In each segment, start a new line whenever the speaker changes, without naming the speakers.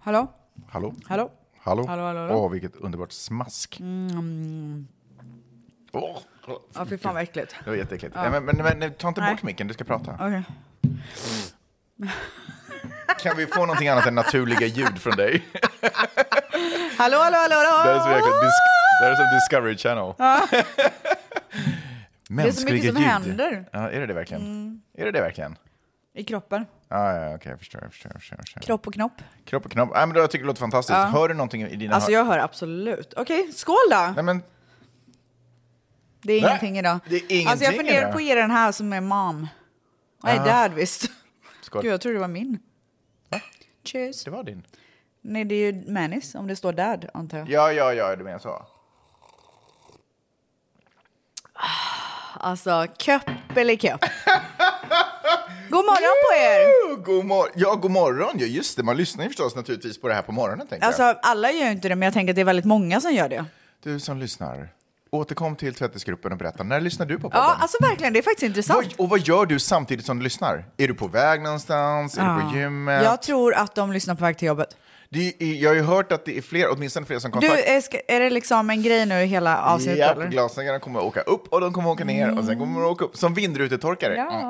Hallå?
Hallå?
Hallå?
Hallå?
Hallå, hallå, hallå.
Åh, vilket underbart smask. Åh,
Ja, fy fan vad äckligt.
det var jätteäckligt. Nej, men, men, men ta inte
Nej.
bort micken, du ska prata.
Okej.
Kan vi få någonting annat än naturliga ljud från dig?
Hallå, hallå, hallå,
Det här är så
hallå!
jäkla dis- det här är som Discovery Channel.
Det är så mycket som händer Mm.
Ja, är det det verkligen? Är det det verkligen?
i kroppen.
Ah, ja, okej, jag förstår. Jag förstår, jag förstår, jag förstår.
Kropp och knopp.
Kropp och knopp. Ah, men då, jag tycker det låter fantastiskt. Hör du någonting i dina
Alltså
hör-
jag hör absolut. Okej, skål då!
Nej, men
Det är
Nej,
ingenting idag.
det är ingenting
alltså jag funderar
idag.
på er den här som är mom. Nej, dad visst.
Skål.
Gud, jag tror det var min. Cheers.
Det var din.
Nej, det är ju manis om det står dad, antar jag.
Ja, ja, ja, du menar så.
Alltså, köpp eller köpp. God morgon på er!
Oh, God mor- ja, god morgon. Ja, just det. Man lyssnar ju förstås naturligtvis på det här på morgonen. Tänkte
Alltså,
jag.
alla gör ju inte det, men jag tänker att det är väldigt många som gör det.
Du som lyssnar, återkom till tvättisgruppen och berätta. När lyssnar du på podden?
Ja, alltså verkligen. Det är faktiskt intressant.
vad, och vad gör du samtidigt som du lyssnar? Är du på väg någonstans? Är du på gymmet?
Jag tror att de lyssnar på väg till jobbet.
Det är, jag har ju hört att det är fler, åtminstone fler som
Du,
kontaktar.
är, ska- är det liksom en grej nu i hela avsnittet?
Japp,
eller?
glasögonen kommer att åka upp och de kommer att åka ner och sen kommer de att åka upp som vindrutetorkare.
Ja.
Mm,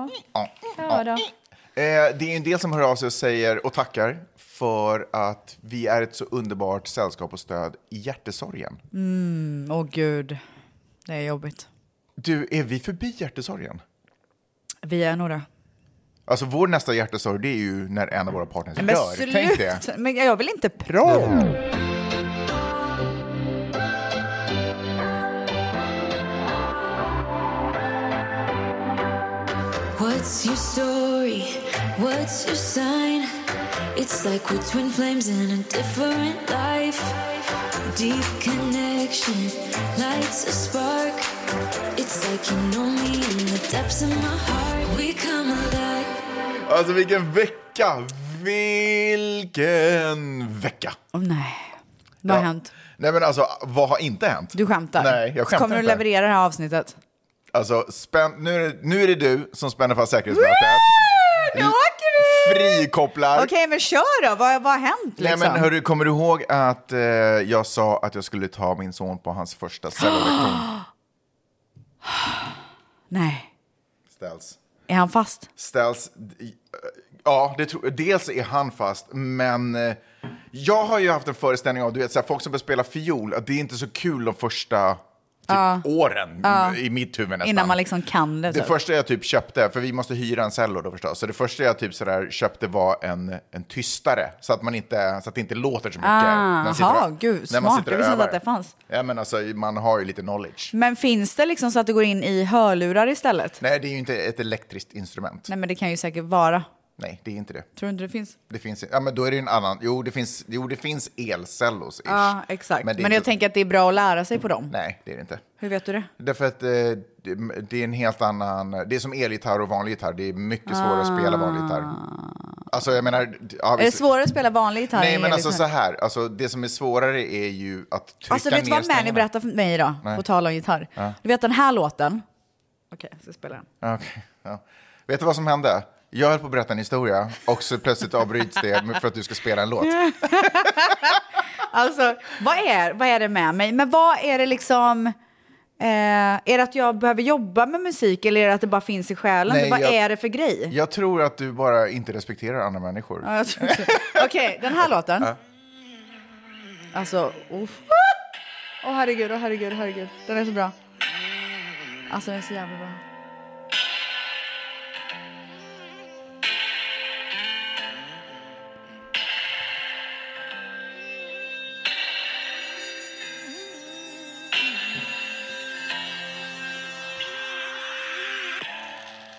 mm, mm, mm. Eh, Det är ju en del som hör av sig och säger och tackar för att vi är ett så underbart sällskap och stöd i hjärtesorgen.
Mm, Åh gud, det är jobbigt.
Du, är vi förbi hjärtesorgen?
Vi är några.
Alltså vår nästa hjärtesorg det är ju när en av våra partners dör. Tänk det.
slut! Men jag vill inte prata.
What's your story? What's your sign? It's like we're twin flames in a different life. Deep connection lights a spark. It's like you know me in the depths of my heart. We come alive.
Alltså vilken vecka! Vilken vecka!
Åh, nej, vad har
Ja.
hänt?
Nej men alltså, vad har inte hänt?
Du skämtar?
Nej, jag skämtar
Kommer du
inte.
leverera det här avsnittet?
Alltså, spänn, nu, är det, nu är det du som spänner fast säkerhetsbältet.
Nu åker vi!
Frikopplar.
Okej, men kör då. Vad, vad har hänt liksom?
Nej men hörru, kommer du ihåg att eh, jag sa att jag skulle ta min son på hans första cellulektion?
Nej.
Ställs.
Är han fast?
Ställs. Ja, det tror, dels är han fast, men eh, jag har ju haft en föreställning av, du vet, så här, folk som börjar spela fiol, att det är inte så kul de första typ, åren i mitt huvud nästan.
Innan man liksom kan det.
Det
typ.
första jag typ köpte, för vi måste hyra en cello då förstås, så det första jag typ sådär köpte var en, en tystare så att, man inte, så att det inte låter så mycket.
Ah,
man sitter och-
aha, gud,
när man
smart.
sitter
Jag visste
och
inte
övar.
att det fanns.
Ja, men alltså, man har ju lite knowledge.
Men finns det liksom så att det går in i hörlurar istället? Nej,
Nej, det är ju inte ett elektriskt instrument. Nej,
men det kan ju säkert vara.
det är inte det.
Tror du inte det finns?
Det finns, ja, men då är det ju en annan. Jo, det finns, jo, det finns elcellos ish.
Ja, exakt. Men,
det är
jag
inte-
tänker att det är bra att lära sig på dem.
Nej, det är det inte.
Hur vet du det?
Därför att eh, det- det är en helt annan, det är som elgitarr och vanlig gitarr, det är mycket svårare att spela vanlig gitarr. Alltså jag menar, ja,
Ah. Är det
visst-
svårare att spela vanlig gitarr
Nej,
än
men alltså
elgitarr?
så här, alltså, det som är svårare är ju att trycka
Alltså vet du
ner
vad Mani
strängarna.
berättade för mig idag? På tal om gitarr. Du vet den här låten? Okej, jag ska spela den.
Okej, ja. Vet du vad som hände? Jag höll på att berätta en historia och så plötsligt avbryts det med- för att du ska spela en låt.
Alltså, vad är, vad är det med mig? Men vad är det liksom... Eh, är det att jag behöver jobba med musik eller är det att det bara finns i själen?
Nej,
vad
jag-
är det för grej?
Jag tror att du bara inte respekterar andra människor.
Ja, jag tror också. Okej, den här låten. Alltså, oh. Åh herregud, åh herregud, åh, herregud. Den är så bra. Alltså den är så jävla bra.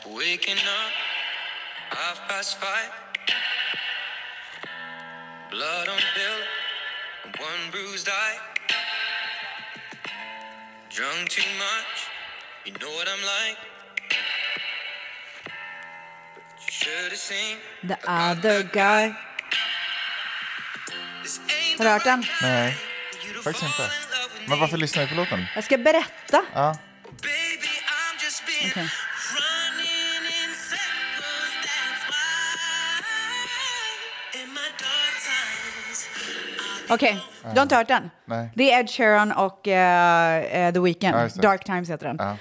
Waking up, half past five. Blood on pillow, and one bruised eye. Drunk too much, you know what I'm like. But you should have seen
The other guy.
this ain't
Har du hört den?
Nej,
you to
faktiskt inte.
fall in love with
Men
me.
varför lyssnar du på låten?
Jag ska berätta.
Ja.
Baby, I'm just being
Okay.
running in circles. That's why in my dark times
Okej, du har inte hört den?
Nej.
Det är Ed Sheeran och eh, eh, The Weeknd.
Ja, just det.
Dark Times heter den.
Ja.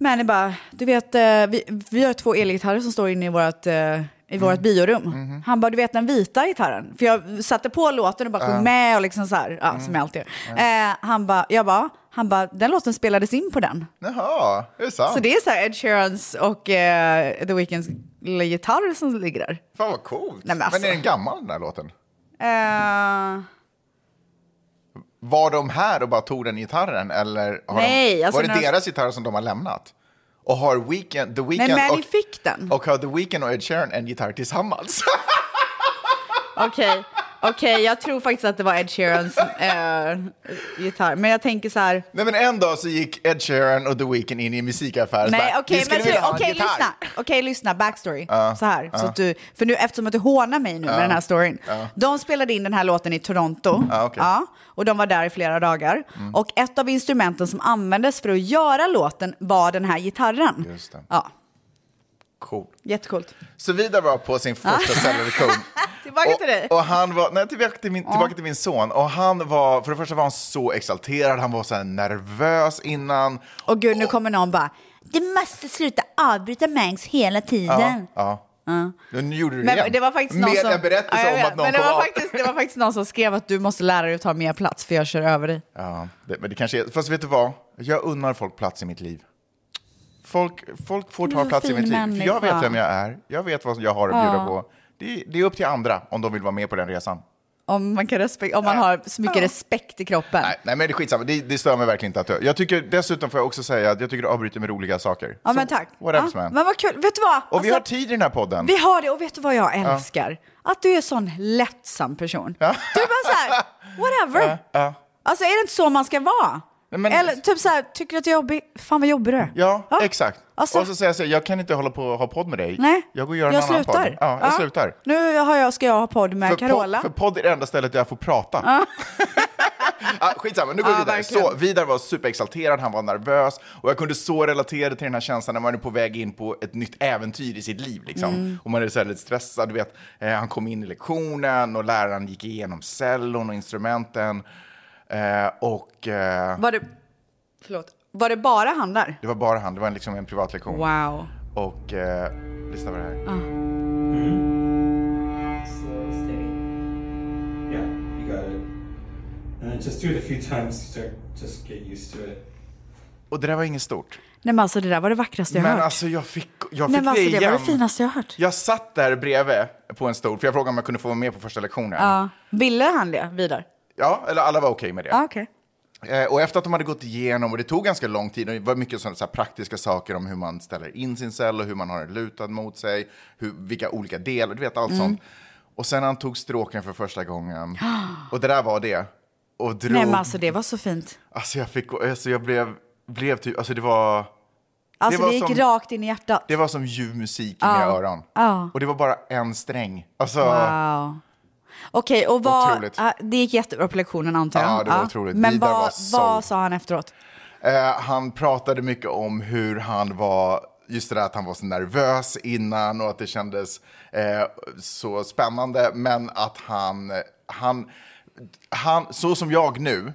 Men det är bara, du vet, eh, vi, vi har två elgitarrer som står inne i vårt, eh, i
Mm.
vårt biorum.
Mm-hmm.
Han bara, du vet den vita gitarren? För jag satte på låten och bara sjöng med och liksom så här,
Mm.
ja, som jag alltid gör. Eh, han bara, jag bara, han bara, den låten spelades in på den.
Jaha, är det sant?
Så det är så här Ed Sheerans och eh, The Weeknds lilla gitarr som ligger där.
Fan vad coolt.
men
men,
alltså.
är den gammal den här låten?
Eh,
Var de här och bara tog den gitarren eller har
Nej,
de,
alltså
var det
när de-
deras gitarr som de har lämnat? Och har Weekend, The Weeknd
nej, Manny
och,
fick den.
och har The Weeknd och Ed Sheeran en gitarr tillsammans?
Okej, okej, jag tror faktiskt att det var Ed Sheerans eh, gitarr. Men jag tänker så här,
Nej men en dag så gick Ed Sheeran och The Weeknd in i en musikaffär och
nej
bara,
okej,
"Vi skulle
men
vilja ha
du,
en
okej
gitarr."
lyssna, okej lyssna, backstory. så här, så att du, för nu eftersom att du hånar mig nu med den här storyn. De spelade in den här låten i Toronto,
Ja, okej. Mm.
ja, och de var där i flera dagar. Och ett av instrumenten som användes för att göra låten var den här gitarren.
Just det.
Ja,
Cool.
jättecoolt.
Så Vida var på sin första cellreduktion.
Tillbaka
och,
till dig.
Och han var, nej, tillbaka, till min, tillbaka till min son. Och han var, för det första var han så exalterad, han var så här nervös innan.
Och gud, nu kommer någon bara, du måste sluta avbryta Mangs hela tiden.
Ja. Nu gjorde du det igen.
Men det var faktiskt någon
Med
som...
en berättelse
Ja, jag
om
vet.
att någon
men det
kom
var,
av.
faktiskt, det var faktiskt någon som skrev att du måste lära dig att ta mer plats för jag kör över dig.
Ja, det, men det kanske är, fast vet du vad? Jag unnar folk plats i mitt liv. Folk, folk får ta
Men
plats i
fin
mitt liv. För jag
människa.
vet vem jag är. Jag vet vad jag har att bjuda på. Det, det är upp till andra om de vill vara med på den resan.
Om man, kan respek- om man har så mycket respekt i kroppen.
Nej, nej men det är skitsamma. Det, det stör mig verkligen inte att du... Jag tycker, dessutom får jag också säga att jag tycker du avbryter med roliga saker.
ja,
Så,
men tack.
What else,
ja,
man?
men vad kul. Vet du vad?
Och vi
Alltså,
har tid i den här podden.
vi har det och vet du vad jag älskar? Att du är en sån lättsam person. Du är bara så här, whatever. Alltså är det inte så man ska vara?
Nej, men-
Eller typ så här, tycker du att jag är jobbig? Fan vad jobbig du är.
Ja, exakt.
Alltså-
och så säger jag så här, jag kan inte hålla på och ha podd med dig.
Nej,
Jag går och gör en
jag
annan
slutar.
podd. Ja, jag slutar.
Nu har jag, ska jag ha podd med
För
Carola.
Podd, för podd är det enda stället där jag får prata. ah, skitsamma, nu går vi
Ja,
vidare.
verkligen.
Så, Vidar var superexalterad, han var nervös och jag kunde så relatera till den här känslan när man är på väg in på ett nytt äventyr i sitt liv. Liksom.
Mm.
Och man är så här lite stressad, du vet. Eh, han kom in i lektionen och läraren gick igenom cellon och instrumenten. Eh, och eh,
Var det, förlåt, var det bara han där?
det var bara han, det var liksom en privatlektion.
Wow.
Och eh, lyssna på det här.
slow, steady. Yeah, you got it. And then just do it a few times. You start, just get used to it.
Och det där var inget stort.
Nej men alltså det där var det vackraste jag
Men
hört.
alltså jag fick, jag fick
Nej men alltså
det
det
igen.
var det finaste jag hört.
Jag satt där bredvid på en stol, för jag frågade om jag kunde få vara med på första lektionen.
Ja. Ville han det, Vidar?
Ja, eller alla var okej med det.
Ja okej.
Eh, och efter att de hade gått igenom, och det tog ganska lång tid, och det var mycket sådana så här praktiska saker om hur man ställer in sin cell och hur man har den lutad mot sig, hur, vilka olika delar, du vet allt
Mm.
sånt. Och sen han tog stråken för första gången, och det där var det. Och drog,
Nej men
alltså.
alltså det var så fint.
jag fick, alltså jag blev, blev typ, alltså det var,
Alltså
Det
det,
var
gick
som-
rakt in i hjärtat.
det var som ljuv musik i mina öron.
Ja.
Och det var bara en sträng. Alltså,
Wow. Okej, och vad...
Otroligt.
ja, Det gick jättebra på lektionen antar jag.
Ja, det var otroligt.
Men
Vidar
vad,
var så-
vad sa han efteråt?
Eh, han pratade mycket om hur han var, just det där att han var så nervös innan och att det kändes eh, så spännande, men att han, han, han, så som jag nu,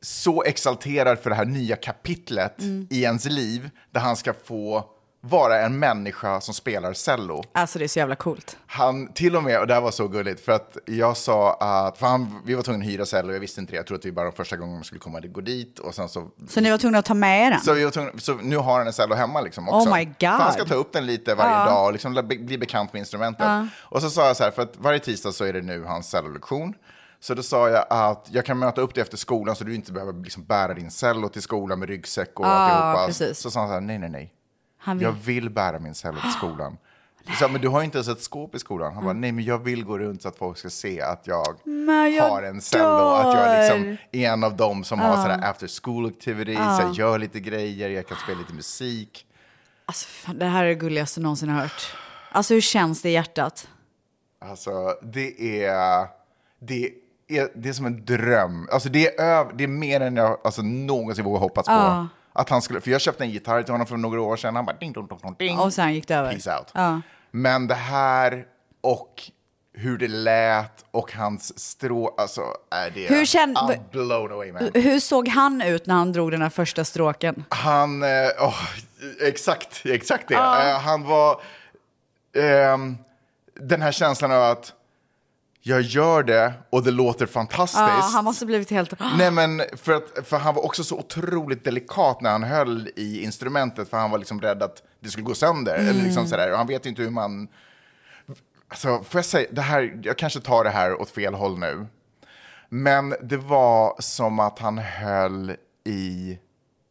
så exalterad för det här nya kapitlet i ens liv, där han ska få vara en människa som spelar cello.
Alltså det är så jävla coolt.
Han till och med, och det här var så gulligt, för att jag sa att, för han, vi var tvungna att hyra cell och jag visste inte det, jag trodde att vi bara de första gångerna skulle komma gå dit och sen så
Så ni var tvungna att ta med er den?
så, vi var tvungna, så nu har han en cello hemma liksom också.
Oh my God.
För han ska ta upp den lite varje dag och liksom bli, bli bekant med instrumentet. Och så sa jag så här, för att varje tisdag så är det nu hans cellolektion. Så då sa jag att jag kan möta upp dig efter skolan så du inte behöver liksom bära din cello till skolan med ryggsäck och alltihopa.
Ah, precis.
Så sa han så här, nej, nej, nej.
Han vill-
Jag vill bära min cello till skolan. Så, men du har ju inte ens ett skåp i skolan. Han bara, nej men jag vill gå runt så att folk ska se att jag,
Men jag
har en cello. Att jag
dör.
liksom är en av dem som har sådana after school activities. Jag gör lite grejer, jag kan spela lite musik.
Alltså fan, det här är det gulligaste jag någonsin har hört. Alltså hur känns det i hjärtat?
Alltså, det är, det är, det är som en dröm. Alltså, det, är öv, det är mer än jag alltså, någonsin vågat hoppas på. Att han skulle, för jag köpte en gitarr till honom för några år sedan. Han bara ding, dong, dong, dong, ding.
Och sen gick det över.
Peace out.
Ja.
Men det här och hur det lät och hans strå... Alltså, är det...
Hur känn-
I'm blown away, man.
Hur såg han ut när han drog den här första stråken?
Han... eh, åh, exakt, exakt det. Eh, han var... ehm, den här känslan av att jag gör det och det låter fantastiskt.
Ja, han måste blivit helt...
Nej, men för, att, för han var också så otroligt delikat när han höll i instrumentet, för han var liksom rädd att det skulle gå sönder. Eller
Mm.
liksom sådär. Och han vet inte hur man... Alltså, får jag säga, det här, jag kanske tar det här åt fel håll nu. Men det var som att han höll i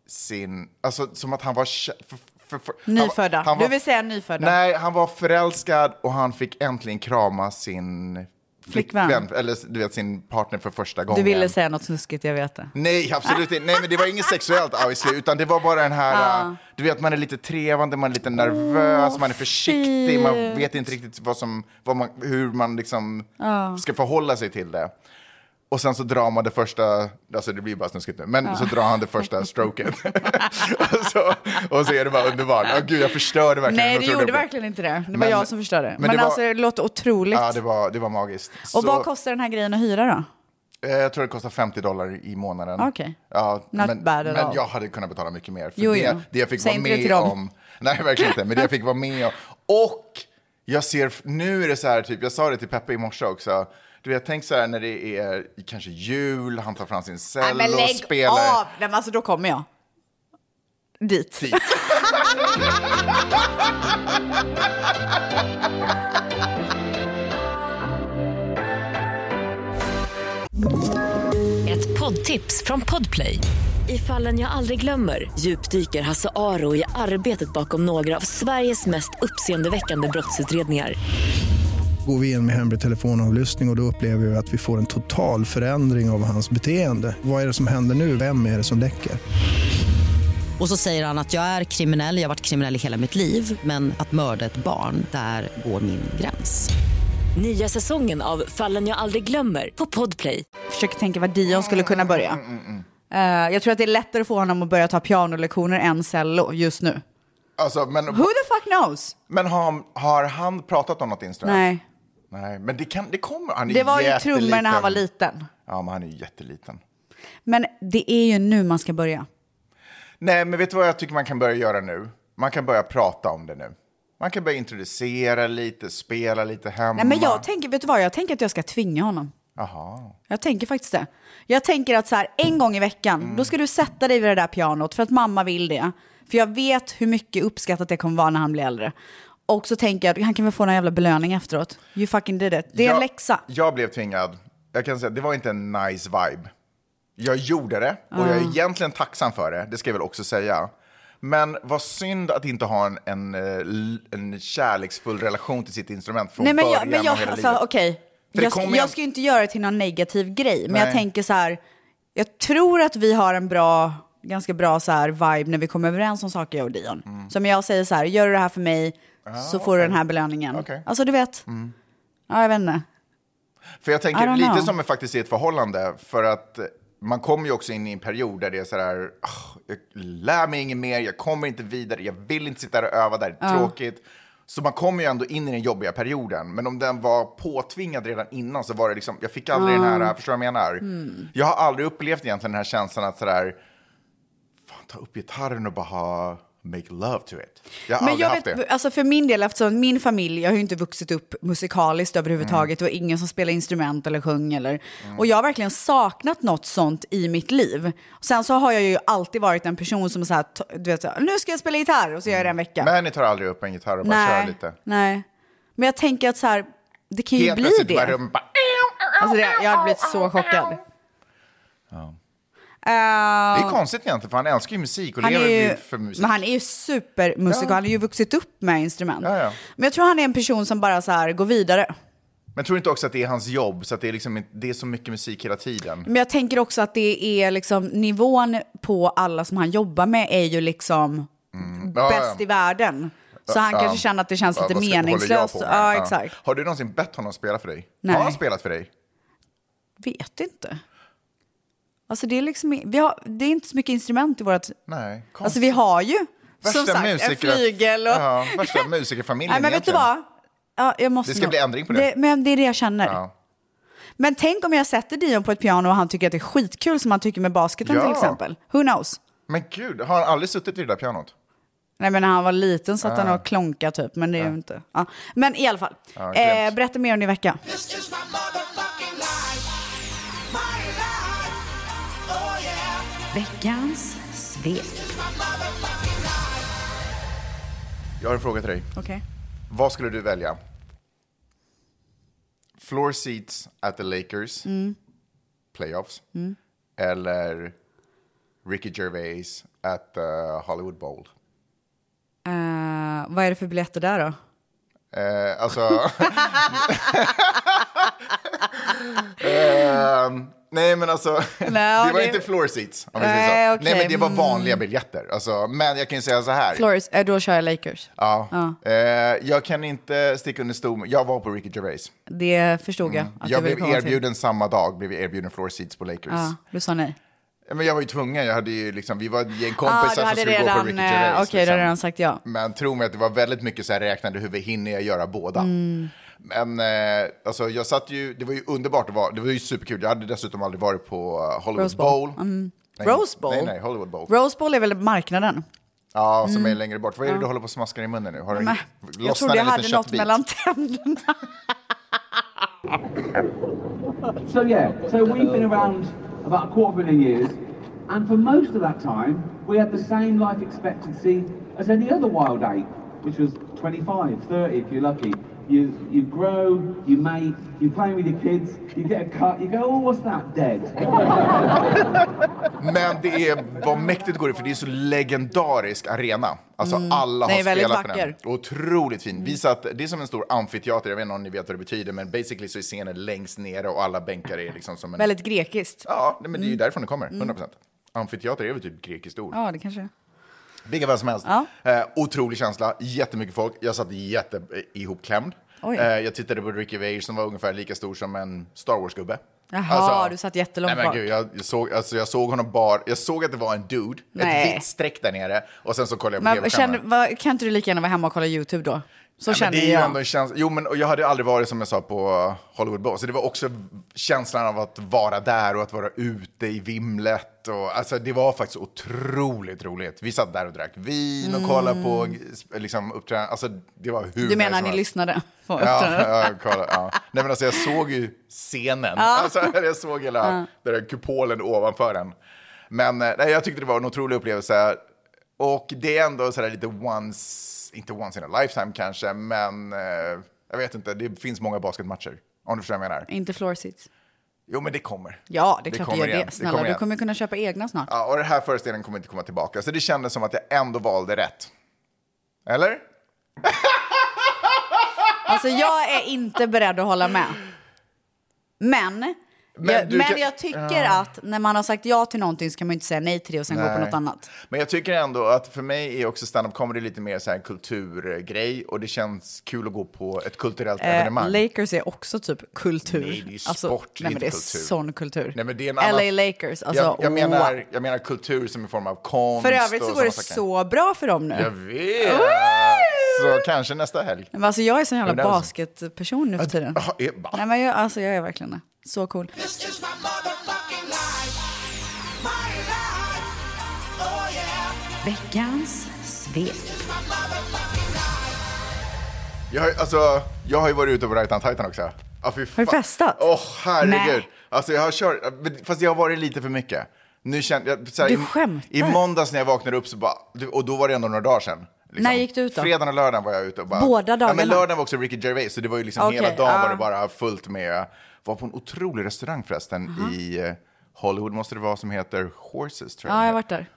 sin... Alltså, som att han var... kä- För, för, för, han var-
Nyfödda.
han var-
Du vill säga nyfödda?
Nej, han var förälskad och han fick äntligen krama sin
Flickvän.
eller du vet, sin partner för första gången.
Du ville säga något snuskigt, jag vet det.
Nej, absolut inte. Nej, men det var inget sexuellt obviously, utan det var bara den här, uh, du vet man är lite trevande, man är lite nervös, man är försiktig, man
fint.
vet inte riktigt vad som, vad man, hur man liksom ska förhålla sig till det. Och sen så drar man det första, alltså det blir bara snuskigt nu, men så drar han det första stroken. och, så, och så är det bara underbart. Oh, gud, jag förstörde verkligen.
Nej,
Jag
du
trodde-
gjorde verkligen inte det. Det var
Men-
jag som förstörde. Men,
men det var-
alltså, det låter otroligt.
Ja, det var, det var magiskt.
Och vad kostar den här grejen att hyra då?
Eh, Jag tror det kostar 50 dollar i månaden.
Okej.
Ja,
Not
men
bad at
men
all.
jag hade kunnat betala mycket mer. För
Jo,
det,
jo.
det jag fick
Säg
vara
inte det till
med
dem.
om. Nej, verkligen inte. Men det jag fick vara med om. Och jag ser, nu är det så här, typ, jag sa det till Peppe i morse också. Du vet, tänk så här när det är kanske jul, han tar fram sin cello, spelar.
av! Nej, men alltså då kommer jag. Dit.
Dit.
Ett poddtips från Podplay. I fallen jag aldrig glömmer djupdyker Hasse Aro i arbetet bakom några av Sveriges mest uppseendeväckande brottsutredningar.
Går vi in med hemlig telefonavlyssning och, och då upplever vi att vi får en total förändring av hans beteende. Vad är det som händer nu? Vem är det som läcker?
Och så säger han att jag är kriminell, jag har varit kriminell i hela mitt liv men att mörda ett barn, där går min gräns.
Nya säsongen av Fallen jag aldrig glömmer på Podplay.
Försöker tänka var Dion skulle kunna börja.
Mm,
Eh, jag tror att det är lättare att få honom att börja ta pianolektioner än cello just nu.
Alltså, men
Who the fuck knows?
men har, har han pratat om något instrument?
Nej,
Nej, men det, kan, det kommer. Han är
det var ju
jätteliten.
trummor när han var liten.
Ja, men han är ju jätteliten.
Men det är ju nu man ska börja.
Nej, men vet du vad jag tycker man kan börja göra nu? Man kan börja prata om det nu. Man kan börja introducera lite, spela lite hemma.
Nej, men jag tänker, vet du vad, jag tänker att jag ska tvinga honom.
Jaha.
Jag tänker faktiskt det. Jag tänker att så här, en gång i veckan, då ska du sätta dig vid det där pianot för att mamma vill det. För jag vet hur mycket uppskattat det kommer vara när han blir äldre. Och så tänker jag att han kan väl få någon jävla belöning efteråt. You fucking did it. Det är
jag,
en läxa.
Jag blev tvingad. Jag kan säga, det var inte en nice vibe. Jag gjorde det och jag är
Ah.
egentligen tacksam för det, det ska jag väl också säga. Men vad synd att inte ha en, en, eh, l- en kärleksfull relation till sitt instrument från
Nej men jag,
början
men
av
jag
hela
alltså
livet.
okej.
det
Jag, ska-
kommer
jag
en-
ska ju inte göra det till någon negativ grej, men jag
Nej.
tänker så här. Jag tror att vi har en bra, ganska bra så här vibe när vi kommer överens om saker jag och Dion. Så om jag säger så här, gör du det här för mig så får du den här belöningen.
Mm. Ah, Okej. Mm.
Alltså du vet. Ja, jag vet inte.
För jag
I
tänker
don't
lite
know.
som är faktiskt i ett förhållande, för att eh, man kommer ju också in i en period där det är sådär, "Ah, jag lär mig inget mer, jag kommer inte vidare, jag vill inte sitta där och öva där, det är tråkigt. Så man kommer ju ändå in i den jobbiga perioden, men om den var påtvingad redan innan så var det liksom, jag fick aldrig den här, förstår du vad jag menar?
Mm.
Jag har aldrig upplevt egentligen den här känslan att sådär, fan ta upp gitarren och bara ha make love to it. Jag har
Men
aldrig
jag
haft
vet,
det.
alltså för min del, eftersom min familj, jag har ju inte vuxit upp musikaliskt
Mm.
överhuvudtaget, det var ingen som spelade instrument eller sjöng eller, och jag har verkligen saknat något sånt i mitt liv. Sen så har jag ju alltid varit en person som så här, t- du vet, så här, nu ska jag spela gitarr och så gör jag det en vecka.
Men ni tar aldrig upp en gitarr och Mm. bara kör
nej,
lite.
nej. Men jag tänker att så här, det kan ju
Helt
bli
plötsligt
det.
bara rummet bara,
Alltså det. Jag hade blivit så chockad. Eh,
Det är konstigt egentligen, för han älskar ju musik och
han
lever
är ju,
ju för musik.
men han är ju supermusiker,
Ja.
han har ju vuxit upp med instrument.
Ja, ja. Men...
Men jag tror han är en person som bara så här går vidare.
tror du inte också att det är hans jobb, så att det är, liksom, det är så mycket musik hela tiden?
Men jag tänker också att det är liksom nivån på alla som han jobbar med är ju liksom
Ja,
bäst i världen. Så han
Ja.
kanske känner att det känns
Ja,
lite
vad ska- håller jag
meningslöst.
på med?
Ja, exakt.
Har du någonsin bett honom spela för dig?
Nej.
Har han spelat för dig?
Vet inte. Alltså det är liksom, vi har, det är inte så mycket instrument i vårt...
Nej. konstigt.
Alltså vi har ju,
Värsta
som sagt, en
musiker-
flygel och...
Ja, värsta musikerfamiljen
Nej men vet du
egentligen.
vad? ja, jag måste
Det ska
nog-
bli ändring på det.
Men det är det jag känner.
Ja.
Men tänk om jag sätter Dion på ett piano och han tycker att det är skitkul som han tycker med basketen
Ja.
till exempel. Who knows?
Men gud, har han aldrig suttit vid det där pianot?
Nej men när han var liten satt han och klonka typ, men det är ju inte. Ja. Men i alla fall,
Ja, grymt.
eh, berätta mer om din vecka.
This is my motherfucking life. My life. Oh yeah.
Veckans svep.
This is my motherfucking life.
Jag har en fråga till dig.
Okej.
Vad skulle du välja? Floor seats at the Lakers playoffs eller Ricky Gervais at the Hollywood Bowl?
Eh, vad är det för biljetter där då?
Eh, alltså... Ehm, nej, men alltså... det var
det-
inte floor seats, om vi säger
Nej,
så.
okej, mm.
Nej, men det var vanliga biljetter. Alltså, men jag kan ju säga så här.
Flores, eh, då kör jag Lakers.
ja. Eh, jag kan inte sticka under stol med- Jag var på Ricky Gervais.
Det förstod jag. att
jag
ville
blev
komma till.
erbjuden samma dag, blev jag erbjuden floor seats på Lakers.
Ja, du sa nej.
Men jag var ju tvungen, jag hade ju liksom, vi var en gäng
Ah,
kompisar
du
som
hade
skulle gå på Ricky
redan, eh,
Gervais.
okej, du
liksom.
hade redan sagt ja.
Men tro mig att det var väldigt mycket så här räknade huvud, hinner jag göra båda?
Mm.
Men eh, alltså, jag satt ju, det var ju underbart att vara, det var ju superkul. Jag hade dessutom aldrig varit på eh, Hollywood
Rose Bowl. Mm.
Bowl. Nej,
Rose Bowl?
Nej, nej, Hollywood Bowl.
Rose Bowl är väl marknaden?
ja, som är längre bort. Vad är det du håller på och smaskar i munnen nu? Har du
Mm. Men,
lossnat
jag trodde jag
en
hade
liten
något
köttbit?
mellan tänderna.
So yeah, so we've been around about a quarter million years, and for most of that time, we had the same life expectancy as any other wild ape, which was 25, 30 if you're lucky. You, you grow, you mate, you're playing with your kids, you get a cut, you go, oh, what's that, dead?
Men det är, vad mäktigt går det, för det är så legendarisk arena. Alltså alla
Mm. Den
har
är väldigt
spelat
vacker. Mm.
på den. Otroligt fin. Vi satt, det är som en stor amfiteater, jag vet inte om ni vet vad det betyder, men basically så är scenen längst nere och alla bänkar är liksom som en...
Väldigt Mm. grekiskt.
Ja, nej, men det är ju därifrån det kommer, 100 procent. Amfiteater är väl typ grekiskt ord.
Ja, det kanske
Vilka väl som helst.
Ja.
Eh, otrolig känsla, jättemycket folk. Jag satt jätte eh, ihopklämd.
Oj.
Eh, jag tittade på Ricky Veir som var ungefär lika stor som en Star Wars-gubbe. Alltså,
Jaha, du satt jättelångt
nej, men
bak.
gud, jag, jag, såg, alltså, jag såg honom bara, jag såg att det var en dude,
Nej.
ett vitt streck där nere, och sen så kollade jag på
Men
tv-skärmen.
känner, vad, kan inte du lika gärna vara hemma och kolla YouTube då? Så
Nej, men
känner
det är ju
jag.
ändå en känsla. Jo, men och jag hade aldrig varit som jag sa på Hollywood Bowl, så det var också känslan av att vara där och att vara ute i vimlet. Och, alltså, det var faktiskt otroligt roligt. Vi satt där och drack vin och kollade på liksom, uppträdanden. Alltså, det var hur
Mm. Du
nice
menar
som
ni
helst.
lyssnade? På
Ja, ja, jag kollar, ja. Nej, men alltså, jag såg ju scenen. Alltså, jag såg hela den där kupolen ovanför den. Men eh, nej, jag tyckte det var en otrolig upplevelse. Och det är ändå sådär lite once, inte once in a lifetime kanske, men eh, jag vet inte, det finns många basketmatcher. Om du förstår vad jag menar.
Inte floor seats.
Jo, men det kommer.
Ja, det är klart du
kommer
gör
igen.
det. Snälla,
kommer
du
igen.
kommer kunna köpa egna snart.
Ja, och den här föreställningen kommer inte komma tillbaka. Så det kändes som att jag ändå valde rätt. Eller?
Alltså jag är inte beredd att hålla med. Men,
Men
jag,
du
men
kan-
jag tycker att när man har sagt ja till någonting så kan man ju inte säga nej till det och sen gå på
Nej.
något annat.
Men jag tycker ändå att för mig är också stand-up comedy lite mer så här kulturgrej och det känns kul att gå på ett kulturellt
Eh,
evenemang.
Lakers är också typ kultur.
Nej, det är ju
Alltså,
sport, det är
nej, men
inte
det är
kultur.
sån kultur.
Nej, men det är en
LA
annan-
Lakers, alltså
jag, jag,
wow.
menar, jag menar kultur som i form av konst
För övrigt
och
så går det
såna saker.
så bra för dem nu.
Jag vet! Så kanske nästa helg.
Men alltså jag är sån jävla
Men det är så.
basketperson nu för tiden.
Ja, eh, va?
Nej men jag, alltså jag är verkligen det. Så cool.
This is my motherfucking life. My life. Oh yeah.
Veckans svep.
This is my motherfucking life.
Jag, har, alltså, jag har ju varit ute på Right on Titan också. Ah, fy
Har du
fan.
festat?
Åh, herregud.
Nej.
Alltså, jag har kört, fast jag har varit lite för mycket. Nu kände, jag, så här,
Du
i-
skämtar.
I måndags när jag vaknade upp, så bara, och då var det ändå några dagar sedan. liksom.
När gick du ut då?
Fredagen och lördagen var jag ute. Och bara,
Båda
Ja, men
dagarna?
lördagen var också Ricky Gervais, så det var ju liksom
Okej,
hela dagen
ja.
var det bara fullt med. Var på en otrolig restaurang förresten i eh, Hollywood, måste det vara, som heter Horses, tror jag.
Ja, jag
den
har
heter.
varit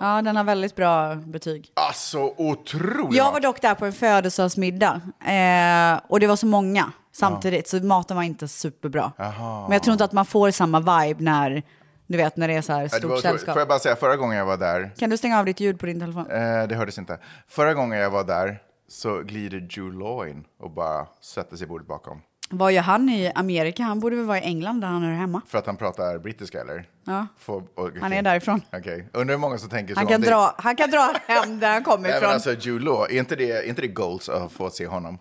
där.
Woo!
Ja, den har väldigt bra betyg.
Alltså, otroligt.
Jag var dock där på en födelsedagsmiddag eh, och det var så många samtidigt så maten var inte superbra. Men jag tror inte att man får samma vibe när, du vet, när det är så här
Ja, det var
stort
otroligt.
sällskap.
Får jag bara säga, förra gången jag var där,
Kan du stänga av ditt ljud på din telefon?
Eh, det hördes inte. Förra gången jag var där så glider Drew Law in och bara sätter sig i bordet bakom.
Vad gör han i Amerika? Han borde väl vara i England där han hör hemma.
För att han pratar brittiska eller?
Ja.
Får- okej.
Han är därifrån.
Okej, undrar hur många som tänker så
Han
om
kan,
dig.
dra, han kan dra hem där han kommer
Nej, men
ifrån.
alltså Drew Law, är inte det, är inte det goals att få se honom?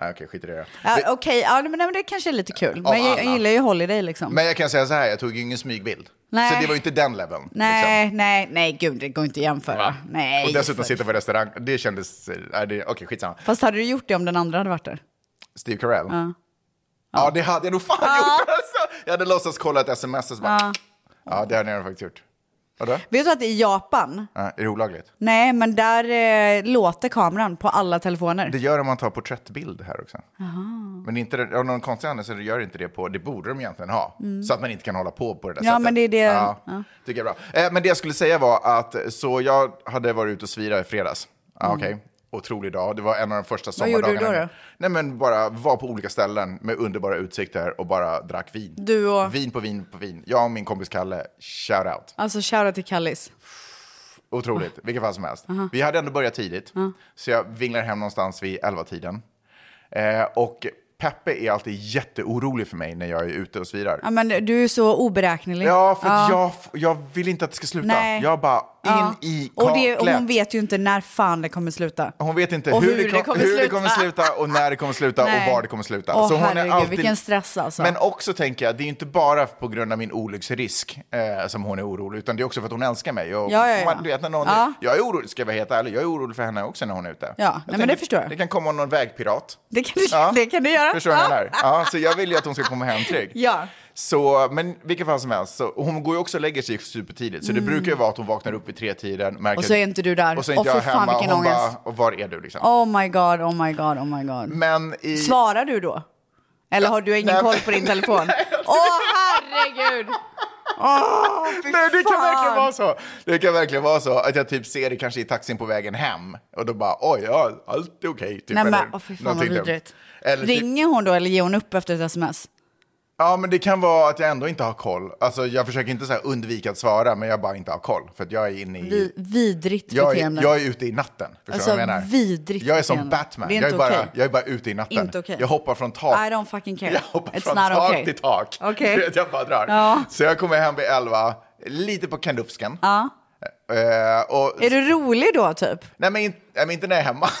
Nej, okej, skit i det.
Ja, Okej, ja, men, men det kanske är lite kul.
Av
Men jag, jag
alla.
gillar ju Holiday liksom.
Men jag kan säga så här, jag tog ju ingen smygbild.
Nej.
Så det var ju inte den leveln. liksom.
nej, nej, nej, gud, det går inte att jämföra. Nej.
Och dessutom sitta på restaurang, det kändes... nej, det- Okej, skitsamma.
Fast hade du gjort det om den andra hade varit där?
Steve Carell?
Ja.
Ja, det hade jag nog fan gjort alltså. Jag hade låtsats kolla ett sms och så bara...
Ja.
Ja, det hade jag nog faktiskt gjort. Vadå?
Vet du att i Japan,
Ja, är det olagligt?
nej, men där eh, låter kameran på alla telefoner.
Det gör det om man tar porträttbild här också. Men inte, det- av någon konstig anledning så gör inte det på, det borde de egentligen ha. Så att man inte kan hålla på på det där
Mm. Ja,
sättet.
men det är det-
Ja,
ja.
Tycker jag är bra. Eh, men det jag skulle säga var att, så jag hade varit ute och svira i fredags. Ah, Okej, otrolig dag. Det var en av de första
Mm. Vad gjorde
sommardagarna.
du då, då?
Nej men bara var på olika ställen med underbara utsikter och bara drack vin.
Du och,
Vin på vin på vin. Jag och min kompis Kalle, shout out.
alltså shoutout till Kallis.
Otroligt, vilket fall som helst. Vi hade ändå börjat tidigt, så jag vinglar hem någonstans vid 11-tiden. Eh, och Peppe är alltid jätteorolig för mig när jag är ute och svirar.
Ja, men du är så oberäknelig.
Ja, för att Jag, jag vill inte att det ska sluta.
Nej.
Jag bara, in
Ja.
i
och, det, och
kaklet.
hon vet ju inte när fan det kommer sluta.
Hon vet inte
Och
hur, det, kom,
kommer
hur det
sluta.
kommer sluta och när det kommer sluta
Nej.
och var det kommer sluta.
Åh,
hon
herregud, vilken stress alltså.
Men också tänker jag, det är ju inte bara på grund av min olycksrisk eh, som hon är orolig, utan det är också för att hon älskar mig. Och
Ja, ja, ja.
Man, du vet, när någon
Ja.
jag är orolig, ska jag vara helt ärlig, jag är orolig för henne också när hon är ute.
Ja, nej, men det förstår jag.
Det kan komma någon vägpirat.
Det kan du,
Ja.
det kan du göra.
Förstår du vad jag menar? Ja, så jag vill ju att hon ska komma hem trygg.
Ja.
Så, men vilken fall som helst, så, och hon går ju också och lägger sig supertidigt, så det brukar ju vara att hon vaknar upp vid tretiden. märker
Mm. Och så är
att-
inte du där.
Och så är inte
Åh,
jag
fy fan,
hemma.
vilken
och hon bara,
ångest.
och var är du liksom?
Oh my god, oh my god, oh my god.
Men i...
Svarar du då? Eller har du ingen
Nej, Typ,
koll
men-
på din telefon? Åh herregud! Åh, fy
Nej, det kan
fan.
verkligen vara så. Det kan verkligen vara så att jag typ ser det kanske i taxin på vägen hem och då bara oj, ja, allt är okej. Typ,
Nej, men,
eller
åh, fy fan vad
någonting dumt.
vidrigt.
Eller typ,
Ringer hon då eller ger hon upp efter ett sms?
ja, men det kan vara att jag ändå inte har koll. Alltså, jag försöker inte så här undvika att svara, men jag bara inte har koll för att jag är inne i...
Vi, vidrigt
Mm. jag, är,
beteende.
jag är ute i natten. Förstår du
Alltså,
vad jag menar?
vidrigt
Jag är som
beteende.
Batman.
Det är
jag, är
inte
bara,
okej.
jag är bara ute i natten.
Inte okej.
Jag hoppar från tak.
I don't fucking care.
Jag hoppar
It's
från
not
tak
okay.
till tak.
Okej.
Du vet, Jag bara drar.
Ja.
Så jag kommer hem vid elva, lite på kandufsken.
Ja.
Eh, och,
Är du rolig då typ?
nej, men, in- nej, men inte när jag är hemma.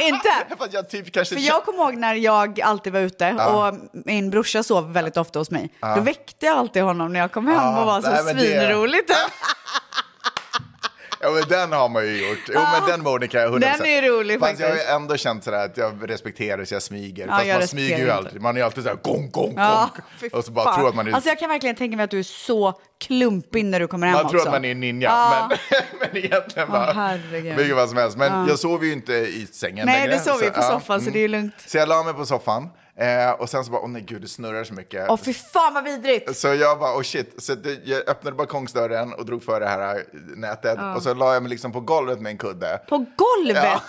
Inte?
För att jag typ kanske...
För jag kommer ihåg när jag alltid var ute och min brorsa sov väldigt ofta hos mig. Då väckte jag alltid honom när jag kom hem
Ja,
och var
nej,
så
men det-
svinrolig. typ.
Ja, men den har man ju gjort. Jo, men den Monica, 100%.
Den är ju rolig
Fast jag har ju
faktiskt.
ändå känt sådär att jag respekterar så jag smyger.
Ja,
Fast
jag
man smyger ju
respekterar
alltid. Man är ju alltid såhär gong, gong,
Ja, fy
gong. Och så bara
fan.
tror att man är...
Alltså jag kan verkligen tänka mig att du är så klumpig när du kommer hem
man tror
också.
att man är en ninja,
Ja.
men, men egentligen
Åh,
bara...
herregud.
Vilket vad som helst. Men
Ja.
jag sover ju inte i sängen
Nej,
längre.
du sover ju på
ja, Mm.
soffan, så det är ju lugnt.
Så jag la mig på soffan. Eh, och sen så bara, åh nej gud, det snurrar så mycket.
Åh fy fan vad vidrigt!
Så jag bara, oh shit. Så det, jag öppnade balkongsdörren och drog för det här eh, nätet. Och så la jag mig liksom på golvet med en kudde.
På golvet!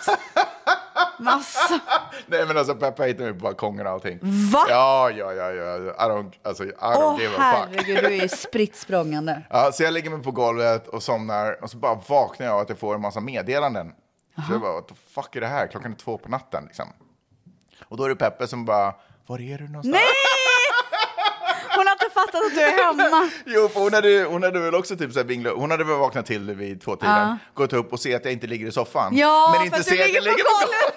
Massa.
Nej men alltså Peppa hittade mig på balkongen och allting.
Va?
Ja, ja, ja, ja. I don't, alltså, I don't
Åh
give a fuck.
herregud, du är ju spritt språngande.
Ja, så jag lägger mig på golvet och somnar och så bara vaknar jag av att jag får en massa meddelanden. Så jag bara, what the fuck är det här? Klockan är två på natten liksom. Och då är det Peppe som bara, var är du någonstans?
Nej! Hon har inte fattat att du är hemma.
Jo, för hon hade, hon hade väl också typ så här vinglat. Hon hade väl vaknat till vid tvåtiden, gått upp och sett att jag inte ligger i soffan.
Ja,
men inte
för att
ser
du
jag
ligger på golvet.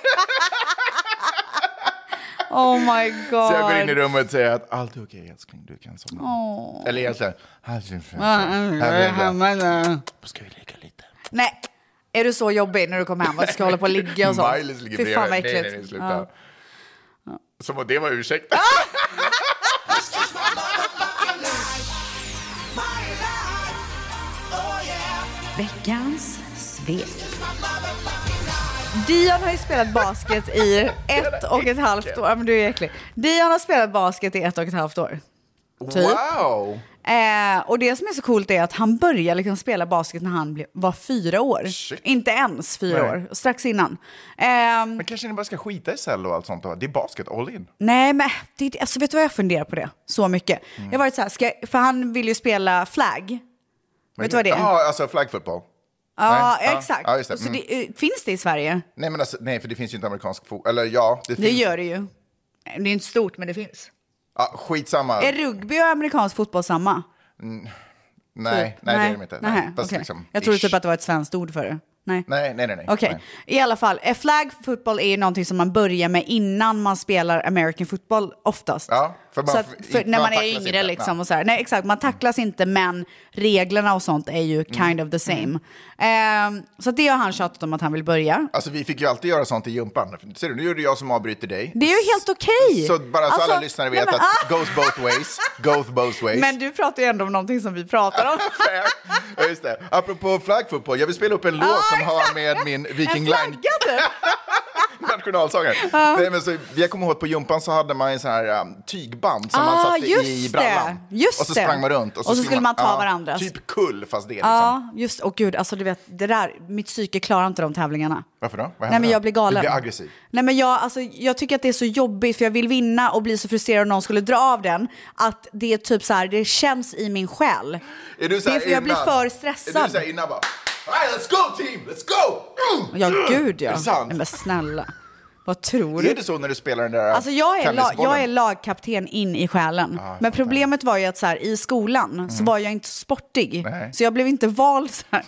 Oh my god.
Så jag går in i rummet och säger att allt är okej älskling, du kan somna.
Åh.
Eller egentligen, här är din fru. Ska vi leka lite?
Nej, är du så jobbig när du kommer hem och ska hålla på och ligga och sånt?
Maj-Lis ligger
Fy fan vad
bredvid. Nej, nej, nej,
äckligt. Ah,
sluta. Som om det var ursäkt.
Oh,
Veckans svep.
Dion har ju spelat basket i ett och ett halvt år. Ja, men du är äcklig. Dion har spelat basket i ett och ett halvt år. Typ.
Wow!
Eh, och det som är så coolt är att han började liksom spela basket när han blev, var fyra år.
Shit.
Inte ens fyra
Nej.
år, strax innan. Ehm,
Men kanske ni bara ska skita i cell och allt sånt då? Det är basket, all in.
Nej, men det, det- alltså, vet du vad jag funderar på det? Så mycket. Jag har varit så här, ska jag, för han vill ju spela flagg. vet du vad det är?
Ja, alltså flag football.
Ja,
nej, ja,
exakt.
ja, just det.
Så det, eh, finns det i Sverige?
Nej, men alltså, nej, för det finns ju inte amerikansk fotboll. Eller ja, det,
Det
finns.
gör det ju. Det är inte stort, men det finns.
Ja, skitsamma.
Är typ- rugby och amerikansk fotboll samma?
nej, nej, det är de inte. Nej.
typ Nej, okej. Jag trodde typ att det var ett svenskt ord för det. Nej.
Nej, nej, nej. nej.
Okej,
Nej.
i alla fall. eh, Flag football är ju någonting som man börjar med innan man spelar American football oftast.
Ja, för man-
så att,
för-
för, när
man
man är
tacklas
yngre
inte,
liksom.
nej.
Och så här. Nej, exakt. Man tacklas inte, men reglerna och sånt är ju
Mm.
kind of the same. Ehm, så att det har han tjatat om att han vill börja.
Alltså vi fick ju alltid göra sånt i jumpan. Ser du, nu är det jag som avbryter dig.
Det är ju helt okej!
Så bara så
Alltså,
alla lyssnare
nej,
vet
men-
att goes both ways, goes both ways.
Men du pratar ju ändå om någonting som vi pratar om.
Ja, just det. Apropå flaggfotboll, jag vill spela upp en låt som har med min Viking Line
typ.
nationalsångare. Nej, men så, jag kommer ihåg på jumpan så hade man en sån här um, tygband som man
Ah,
satte i
just
brallan.
det. Just
och så
det.
sprang man runt.
Och så skulle man ta varandras.
Typ kull, fast det liksom.
Ja, just Och gud, alltså du vet, det där, mitt psyke klarar inte de tävlingarna.
Varför då? Vad
Nej, men
då?
jag blir galen.
Du blir aggressiv.
Nej, men jag, alltså, jag tycker att det är så jobbigt för jag vill vinna och bli så frustrerad om någon skulle dra av den. Att det är typ så här, det känns i min själ.
Är du så här
det är för jag blir
innan-
för
Är
stressad.
du så här innan bara, All right, let's go team, let's go!
Ja, gud
Är
ja.
det sant?
Nej, men snälla. Vad tror du?
Är det så när du spelar den där
Alltså jag är, la-
tennisbollen? Ah,
jag är lagkapten in i själen. men problemet var ju att så här, i skolan så var jag inte så sportig.
Mm. Nej.
Så jag blev inte vald så här,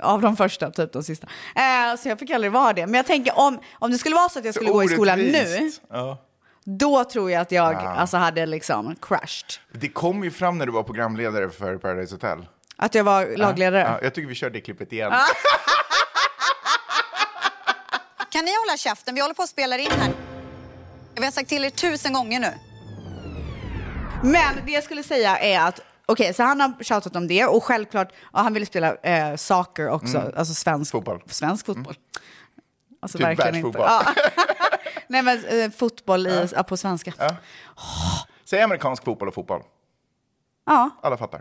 av de första, typ de sista. Eh, så jag fick aldrig vara det. Men jag tänker om, om det skulle vara så att jag skulle gå i skolan nu,
Orättvist. Ja.
då tror jag att jag
Ah.
alltså, hade liksom crushed.
Det kom ju fram när du var programledare för Paradise Hotel.
Att jag var lagledare.
Ja, jag tycker vi kör det klippet igen.
Kan ni hålla käften? Vi håller på att spela in här. Vi har sagt till er tusen gånger nu.
Men det jag skulle säga är att Okej, så han har tjatat om det och självklart, ja, han ville spela eh, soccer också,
Mm.
alltså svensk
fotboll. Mm.
Svensk fotboll. Alltså
Typ
verkligen inte.
världsfotboll.
Ja. Nej men eh, fotboll i, ja. på svenska. Ja,
Säg amerikansk fotboll och fotboll.
ja,
Alla fattar.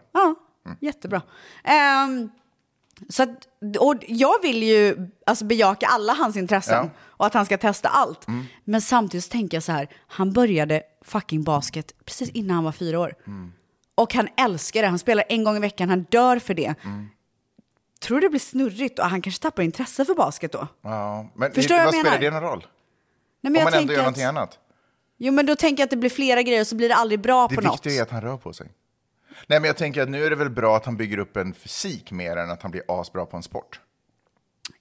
jättebra. Ehm, så att, och jag vill ju alltså, bejaka alla hans intressen
Ja. Mm.
och att han ska testa allt. Men samtidigt så tänker jag så här, han började fucking basket precis innan han var fyra år.
Mm.
Och han älskar det, han spelar en gång i veckan, han dör för det.
Mm.
Tror du det blir snurrigt och han kanske tappar intresse för basket då?
Ja, men
Förstår vad jag
vad
menar?
spelar det någon roll?
Nej, men
Om
jag
man ändå
tänker
gör
att-
någonting annat.
Jo men då tänker jag att det blir flera grejer så blir det aldrig bra
Det
på något.
viktiga är att han rör på sig. Nej, men jag tänker att nu är det väl bra att han bygger upp en fysik mer än att han blir asbra på en sport.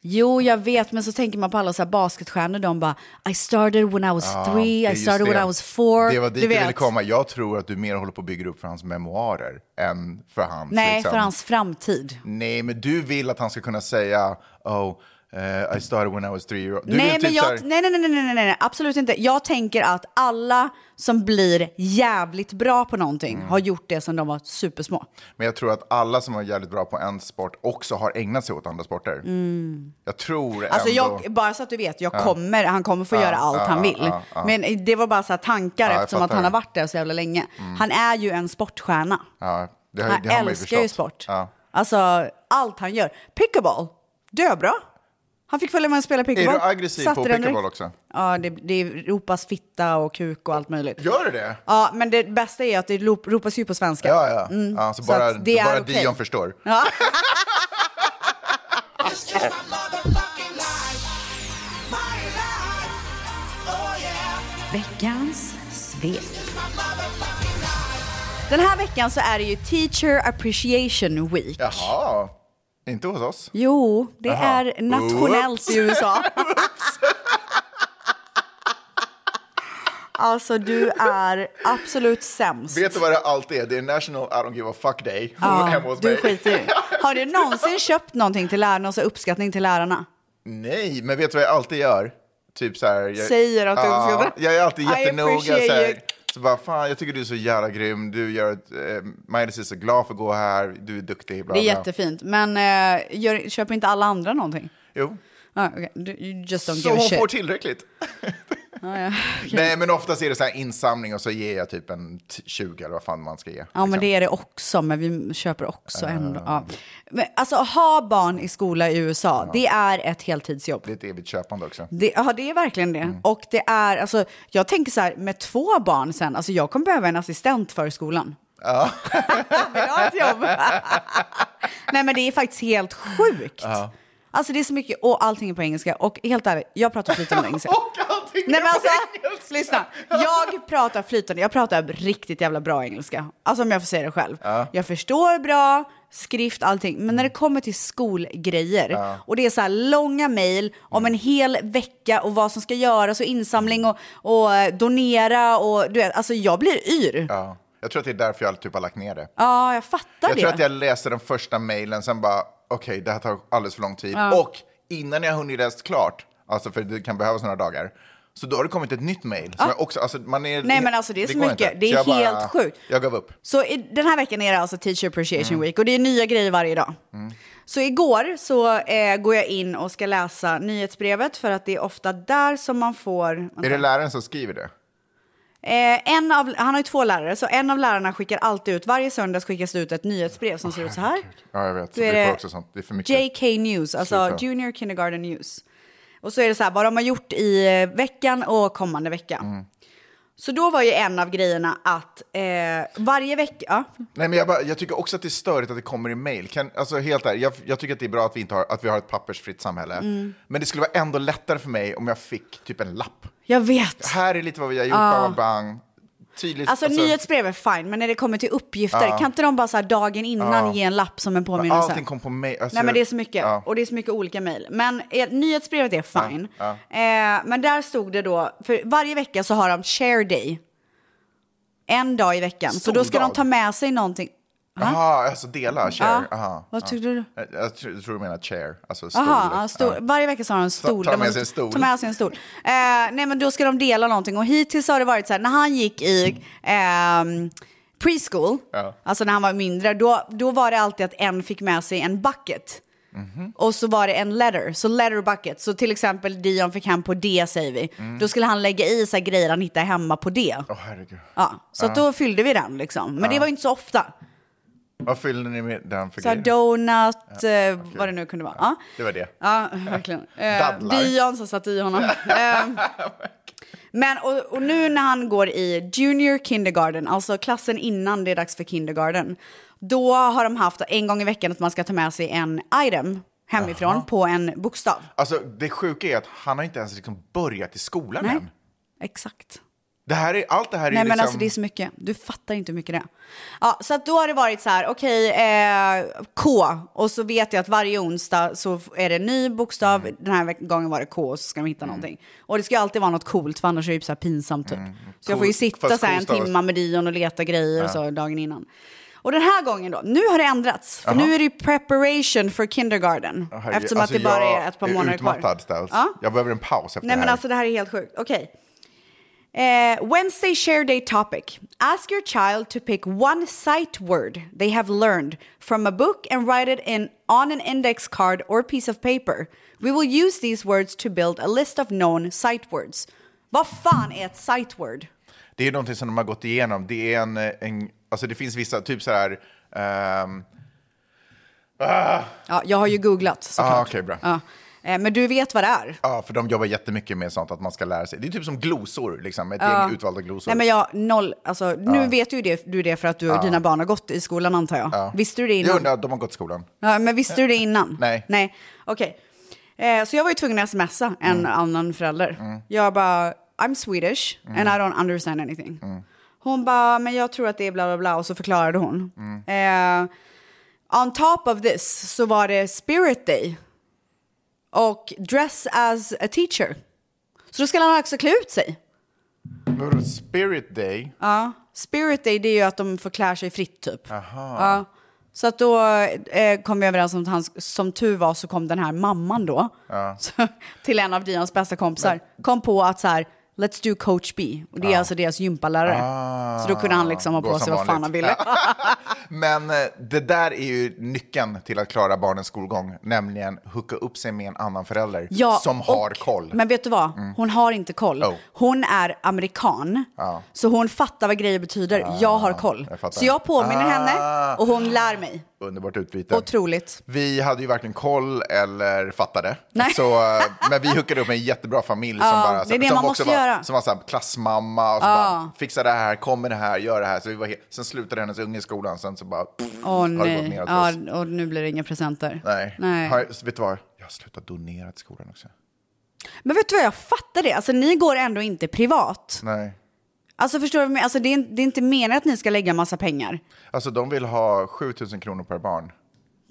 Jo, jag vet, men så tänker man på alla så här basketstjärnor. De bara, I started when I was
Ja, det
three,
är
I
just
started when I was four.
Det var dit
du
jag
vet.
ville komma. Jag tror att du mer håller på att bygga upp för hans memoarer än för hans...
Nej,
liksom-
för hans framtid.
Nej, men du vill att han ska kunna säga oh, eh, I started when I was three years old. Du vill
Nej,
typ
men jag,
så här-
nej, nej, nej, nej, nej, nej, nej, absolut inte. Jag tänker att alla som blir jävligt bra på någonting
Mm.
har gjort det sedan de var supersmå.
Men jag tror att alla som var jävligt bra på en sport också har ägnat sig åt andra sporter.
Mm.
Jag tror
Alltså
ändå...
jag, bara så att du vet, jag
Ja.
kommer, han kommer få
Ja,
göra allt
ja,
han
ja,
vill.
ja, ja.
Men det var bara så här tankar
Ja, jag
eftersom att
fattar.
han har varit där så jävla länge.
Mm.
Han är ju en sportstjärna.
Ja, det har,
Han
det har man ju
älskar ju
förstått.
sport.
Ja.
Alltså allt han gör. Pickleball, döbra. Han fick följa med och spela
Är
pickleball.
du aggressiv
Satte
på
den
pickleball
direkt.
också?
Ja, det, det ropas fitta och kuk och allt möjligt.
Gör du det?
Ja, men det bästa är att det lop- ropas ju på svenska.
Ja, ja.
Mm,
ja så
så
bara,
att det
så bara
är okej.
Dion förstår.
Ja.
This is my motherfucking life. My life. Oh yeah.
Veckans svep.
Den här veckan så är det ju Teacher Appreciation Week.
Jaha, inte hos oss.
Jo, det
Jaha.
är nationellt
Oops.
i USA. alltså, du är absolut sämst.
Vet du vad det alltid är? Det är National I don't give a fuck day
Ja,
hemma hos
du
mig.
skiter i. Har du någonsin köpt någonting till lärarna och så uppskattning till lärarna?
Nej, men vet du vad jag alltid gör? Typ så här, jag,
Säger att du
Ja,
uppskattar.
Jag är alltid
I
jättenoga. Så,
appreciate you.
här, så bara, fan jag tycker du är så jävla grym. Du gör att eh, Midas är så glad för att gå här. Du är duktig. Bla,
Det är
bla.
jättefint, men eh, gör, köper inte alla andra någonting?
Jo.
Ah, okay. Du- You just don't
Så
give a
hon
shit.
får tillräckligt.
Ah, ja.
Nej, men oftast är det så här insamling och så ger jag typ en t- 20 eller vad fan man ska ge.
Ja, men det är det också, men vi köper också ändå.
Ah.
Ja. Men, alltså, ha barn i skola i USA, det är ett heltidsjobb.
Det är ett evigt köpande också.
Det, ja, det är verkligen det. Och det är, alltså, jag tänker så här, med två barn sen, alltså jag kommer behöva en assistent för skolan.
Ja.
Vill du ha ett jobb? Nej, men det är faktiskt helt sjukt. Alltså det är så mycket, och allting är på engelska. Och helt ärligt, jag pratar flytande engelska.
Och allting någonting
Nej men alltså, lyssna. Jag pratar flytande, jag pratar riktigt jävla bra engelska. Alltså om jag får säga det själv. Jag förstår bra, skrift, allting. Men när det kommer till skolgrejer
Ja.
och det är så här långa mejl om en hel vecka och vad som ska göras och insamling och, och eh, donera och du vet, alltså jag blir yr. Ja,
Ja. Jag tror att det är därför jag typ har lagt ner det.
jag fattar
Jag
det.
tror att jag läser den första mejlen, sen bara okej, det här tar alldeles för lång tid.
Ja.
Och innan jag hunnit läst klart, alltså för det kan behövas några dagar, så då har det kommit ett nytt mejl. som
Ja.
jag också, alltså, man är,
Nej, men alltså, det är så
går
mycket.
inte.
Det är
Så jag
helt sjukt.
Jag gav upp.
Så i, den här veckan är det alltså Teacher Appreciation
Mm.
Week och det är nya grejer varje dag.
Mm.
Så igår så eh, går jag in och ska läsa nyhetsbrevet för att det är ofta där som man får...
Är det läraren som skriver det?
Eh, en av, han har ju två lärare, så en av lärarna skickar alltid ut, varje söndag skickas det ut ett nyhetsbrev som ser ut så här.
Ja, jag vet.
Då
Det
är
är
det
också sånt. Det är för mycket.
JK News, alltså
Sluta.
Junior Kindergarten News. Och så är det så här, vad de har gjort i eh, veckan och kommande vecka.
Mm.
Så då var ju en av grejerna att eh, varje vecka... ja.
Nej, men jag, bara, jag tycker också att det är störigt att det kommer i mejl. Kan- Alltså, helt ärligt, jag, jag tycker att det är bra att vi, inte har, att vi har ett pappersfritt samhälle.
Mm.
Men det skulle vara ändå lättare för mig om jag fick typ en lapp.
Jag vet.
Här är lite vad vi har gjort,
Ja.
bang, bang. Tydligt.
Ah. Alltså, nyhetsbrev är fine, men när det kommer till uppgifter,
Ja.
kan inte de bara så här dagen innan
Ja.
ge en lapp som en
Men
påminnelse?
Allting kom på mejl. Alltså,
Nej men det är så mycket,
Ja.
och det är så mycket olika mejl. Men eh, nyhetsbrevet är fine.
Ja.
Eh, men där stod det då, för varje vecka så har de share day. En dag i veckan. så
Stor
då ska
dag.
de ta med sig någonting.
Jaha, alltså dela, share.
Ja.
Aha,
Vad
ja.
tyckte du?
Jag, jag tror jag tror du menar chair, alltså stol.
Aha, ja, stor,
Ja.
Varje vecka så har de en stol.
Ta- ta
De
med
måste
sig en stol.
Ta med sig en stol. Eh, nej men då ska de dela någonting. Och hittills har det varit så här, när han gick i ehm, preschool,
Ja.
alltså när han var mindre, då, då var det alltid att en fick med sig en bucket.
Mhm.
Och så var det en letter, så letter bucket. Så till exempel Dion fick hem på D säger vi.
Mm.
Då skulle han lägga i så här grejer han hittade hemma på D.
Åh, herregud.
Ja, så att
Ja.
då fyllde vi den liksom. Men det
Ja.
var ju inte så ofta.
Vad fyllde ni med den för
Så här
grejer?
donut, eh, vad det nu kunde vara. Ja.
Det var det.
Ja, verkligen. Eh,
Dadlar.
Dion som satt i honom. Eh, men och, och nu när han går i junior kindergarten, alltså klassen innan det är dags för kindergarten, då har de haft en gång i veckan att man ska ta med sig en item hemifrån på en bokstav.
Alltså, det sjuka är att han har inte ens liksom börjat i skolan
Nej.
än.
Exakt.
Det här är, allt det här är
Nej
ju
men
liksom...
alltså det är så mycket, du fattar inte hur mycket det är. Ja, så att då har det varit så här, okej, eh, K, och så vet jag att varje onsdag så är det en ny bokstav,
Mm.
den här veck- gången var det K, och så ska de hitta någonting. Och det ska ju alltid vara något coolt, för annars är det ju så här pinsamt
Mm.
typ. Så jag får ju
Cool-
sitta
fast
så här en
cool stavas-
timma med Dion och leta grejer och
Ja.
så dagen innan. Och den här gången då, nu har det ändrats, för
Jaha.
nu är det ju preparation for kindergarten.
Åh, herregud.
eftersom
Alltså,
att det bara
jag
är ett par månader kvar.
utmattad, Stels.
Ja.
Jag behöver en paus efter
Nej
det
men
här.
alltså det här är helt sjukt. Okej. Eh, Wednesday share day topic. Ask your child to pick one sight word they have learned from a book and write it in on an index card or piece of paper. We will use these words to build a list of known sight words. Vad fan är ett sight word?
Det är någonting som de har gått igenom. Det, är en, en, alltså det finns vissa, typ så här... ehm, ah,
Ja, jag har ju googlat såklart.
Ah, okej, bra.
Ja. Eh, men du vet vad det är?
ja, för de jobbar jättemycket med sånt att man ska lära sig. Det är typ som glosor, liksom, ett
Ja.
gäng utvalda glosor.
Nej men jag, noll, alltså nu
Ja.
vet ju det, du det för att du,
Ja.
dina barn har gått i skolan antar jag.
Ja.
Visste du det
Jo,
innan?
nej, de har gått i skolan.
Ja, men visste du det innan?
Nej.
Nej, okej. Eh, så jag var ju tvungen att smsa en annan förälder. Jag bara, I'm Swedish and I don't understand anything. Hon bara, men jag tror att det är bla bla bla och så förklarade hon. Eh, on top of this så var det spirit day och dress as a teacher. Så då skulle han också klä ut sig.
Men vadå, Spirit Day?
Ja, spirit day det är ju att de får klä sig fritt typ.
Aha.
Ja. Så att då eh, kom vi överens om att han, som tur var så kom den här mamman då
Ja.
så, till en av Dions bästa kompisar. Kom på att så här, let's do coach B. Och det är alltså deras gympalärare.
Ah.
Så då kunde han liksom ha
Gå
på sig
som
vad fan han
vanligt.
ville.
Men eh, det där är ju nyckeln till att klara barnens skolgång, nämligen hooka upp sig med en annan förälder
Ja,
som har
och-
koll. Mm.
Men vet du vad? Hon har inte koll.
Oh.
Hon är amerikan.
Ja. Ah,
Så hon fattar vad grejer betyder. jag har koll.
jag fattar.
så jag påminner
Ah.
henne och hon lär mig.
Underbart utbyte.
Otroligt.
Vi hade ju varken koll eller fattade.
Nej.
Så, eh, men vi hookade upp med en jättebra familj
Ja,
som, bara,
det är det
som
man
också
måste
var,
göra.
som var så här, klassmamma. Och så
Ja.
bara, fixa det här, kom med det här, gör det här. Så vi var he- sen slutade hennes unge i skolan, sen så bara pff,
Åh
har det gått
nej.
neråt
Ja,
för oss.
och nu blir det inga presenter.
Nej.
Nej.
Har, vet du vad? Jag har slutat donera till skolan också.
Men vet du vad, jag fattar det. Alltså ni går ändå inte privat.
Nej.
Alltså förstår du vad jag menar? alltså, det, är, det är inte meningen att ni ska lägga massa pengar
Alltså de vill ha 7 000 kronor per barn,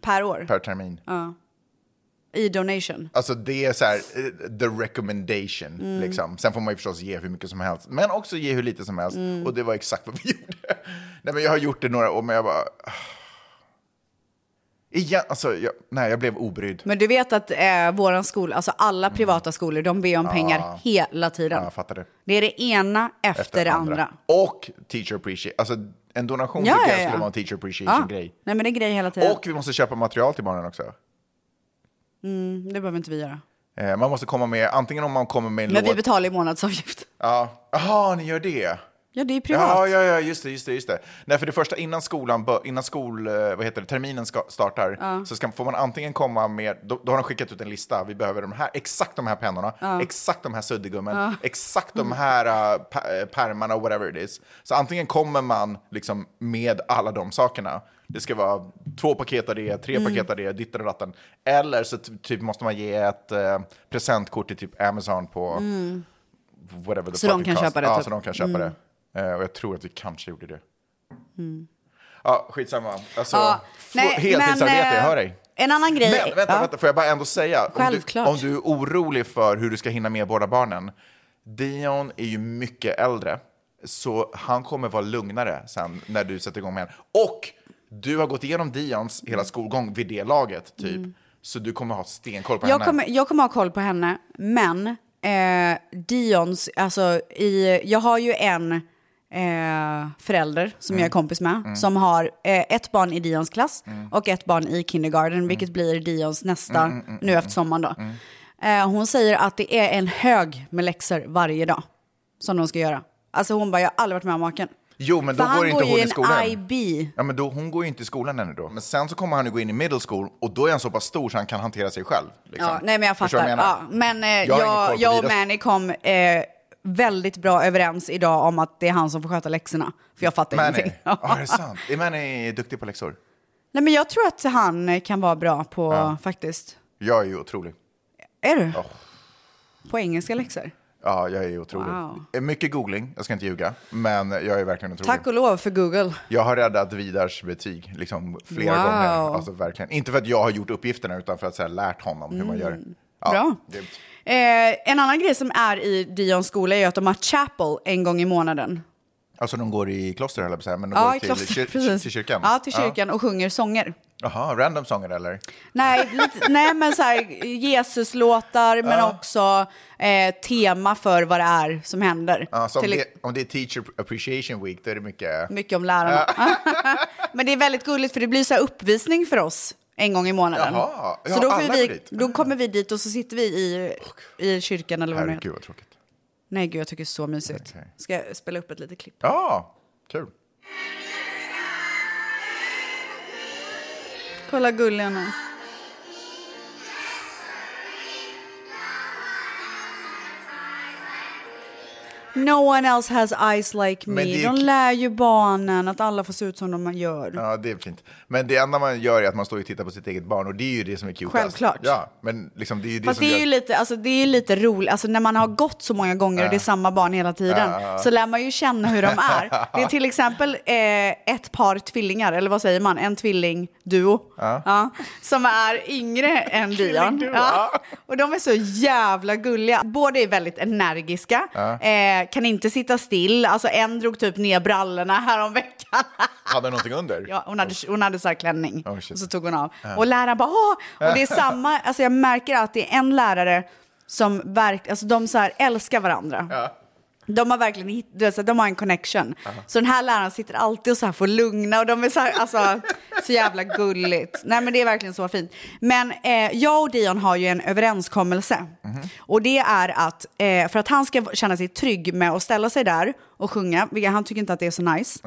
per år.
per termin.
Ja. I donation.
Alltså det är så här, eh, the recommendation.
Mm.
Liksom. Sen får man ju förstås ge hur mycket som helst, men också ge hur lite som helst.
Mm.
Och det var exakt vad vi gjorde. Nej, men jag har gjort det några år, men jag bara... ah. Igen, alltså, jag, nej, jag blev obrydd.
Men du vet att eh, våran skola, alltså alla privata skolor, de ber om
Ja.
pengar hela tiden.
Mm. Ah. Ja, jag fattar det.
Det är det ena efter, det andra.
Och teacher appreciation. Alltså, en donation
Ja,
tycker
ja,
jag
Ah. ja.
skulle vara en teacher
Ja.
appreciation-grej.
Nej men det är grej hela tiden.
Och vi måste köpa material till barnen också.
Mm, det behöver inte vi göra.
Eh, man måste komma med, antingen om man kommer med en
Men vi
låt...
betalar ju månadsavgift.
Ja, Jaha, ni gör det?
Ja, det är privat.
Ja, ja, ja, just det, just det, just det. Nej, för det första innan skolan, bör- innan skol, eh, vad heter det, terminen ska, startar,
Ja.
så ska, får man antingen komma med, då, då har de skickat ut en lista, vi behöver de här, exakt de här pennorna,
Ja.
exakt de här suddgummen,
Ja.
exakt de här uh, pärmarna, whatever it is. Så antingen kommer man liksom med alla de sakerna, det ska vara två paket av det, tre
Mm.
paket av det, ditten och datten. Eller så ty- typ måste man ge ett eh, presentkort till typ Amazon på
Mm.
whatever the
Så de kan
fucking cost.
köpa det,
Ja,
typ.
så de kan köpa
Mm.
det. Eh, och jag tror att vi kanske gjorde det.
Mm.
Ja, skitsamma. Alltså,
Ja,
få-
nej, men,
heltidsarbete,
eh,
jag hör dig.
En annan grej.
Men vänta,
Ja.
vänta, får jag bara ändå säga?
Självklart.
Om du, om du är orolig för hur du ska hinna med båda barnen. Dion är ju mycket äldre, så han kommer vara lugnare sen när du sätter igång med honom. Och du har gått igenom Dions hela skolgång vid det laget, typ.
Mm.
Så du kommer ha stenkoll på
jag
henne.
Kommer, jag kommer ha koll på henne, men eh, Dions, alltså i, jag har ju en eh, förälder som
Mm.
jag är kompis med
Mm.
som har eh, ett barn i Dions klass
Mm.
och ett barn i kindergarten, vilket blir Dions nästa
Mm, mm, mm,
nu efter sommaren då. Eh, hon säger att det är en hög med läxor varje dag som de ska göra. Alltså hon bara, jag har aldrig varit med om maken.
Jo, men då
För han
går inte
går ju
hon
i
i
en
skolan.
IB.
Ja, men då, hon går ju inte i skolan ännu då. Men sen så kommer han ju gå in i middle school och då är han så pass stor så han kan hantera sig själv. Liksom.
Ja, nej men jag
Förstår
fattar.
vad jag
ja,
menar?
men eh,
Jag har ingen koll
jag,
på
jag och
Lidas-
Mani kom eh, väldigt bra överens idag om att det är han som får sköta läxorna. För jag fattar
Manny.
ingenting.
Ja, är det sant? Är Manny duktig på läxor?
Nej men jag tror att han eh, kan vara bra på,
Ja.
faktiskt.
Jag är ju otrolig.
Är du?
Ja.
På engelska läxor?
Ja, jag är ju otrolig.
Wow.
Eh, Mycket googling, jag ska inte ljuga, men jag är verkligen otrolig.
Tack och lov för Google.
Jag har räddat Vidars betyg liksom, flera
Wow.
gånger. Alltså, verkligen. Inte för att jag har gjort uppgifterna, utan för att så här, lärt honom hur man
Mm.
gör. Ja,
Bra.
grymt.
Eh, en annan grej som är i Dions skola är ju att de har chapel en gång i månaden.
Alltså de går i kloster, höll jag på att säga, men de
Ja,
går
i
till,
kloster,
kyr-
precis.
till kyrkan.
Ja, till kyrkan och sjunger sånger.
Jaha, random sånger eller?
Nej, lite, nej men så här, Jesus-låtar men
Ja.
också eh, tema för vad det är som händer.
Ja, så om,
Till- Mm.
det, om det är teacher appreciation week, då är det mycket...
Mycket om lärarna. men det är väldigt gulligt för det blir så här uppvisning för oss en gång i månaden.
Jaha,
så
ja,
då, får
alla går
vi,
dit.
då kommer vi dit och så sitter vi i, i kyrkan eller vad det
Herregud
heter.
vad tråkigt.
Nej gud, jag tycker det är så mysigt. Ska jag spela upp ett litet klipp?
Ja, kul.
Kolla gulliga nu. No one else has eyes like me.
Men det är ju
De
ki-
lär ju barnen att alla får se ut som de gör.
Ja, det är fint. Men det enda man gör är att man står och tittar på sitt eget barn och det är ju det som är cutast.
Självklart.
Ja, men liksom det är ju det
Fast
som
det är
gör...
ju lite, alltså, det är lite roligt, alltså, när man har gått så många gånger och det är
Ja.
samma barn hela tiden
Ja, ja, ja.
så lär man ju känna hur de är. Det är till exempel eh, ett par tvillingar, eller vad säger man, en tvillingduo.
Ja.
Ja, som är yngre än Dion.
Tvillingduo.
Ja. Och de är så jävla gulliga. Båda är väldigt energiska,
Ja.
eh, kan inte sitta still. Alltså en drog typ ner brallorna häromveckan.
Hade någonting under?
Ja, hon hade, hon hade så här klänning
Alltså. Oh, shit.
och så tog hon av.
Ja.
Och läraren bara Åh! Och det är samma, alltså jag märker att det är en lärare som verkligen, alltså de så här älskar varandra. De har verkligen hitt- du vet, så här, de har en connection.
Ja.
Så den här läraren sitter alltid och så här får lugna och de är så här, alltså så jävla gulligt. Nej men det är verkligen så fint. Men eh, jag och Dion har ju en överenskommelse.
Mhm.
Och det är att, eh, för att han ska känna sig trygg med att ställa sig där och sjunga, vilket han tycker inte att det är så nice.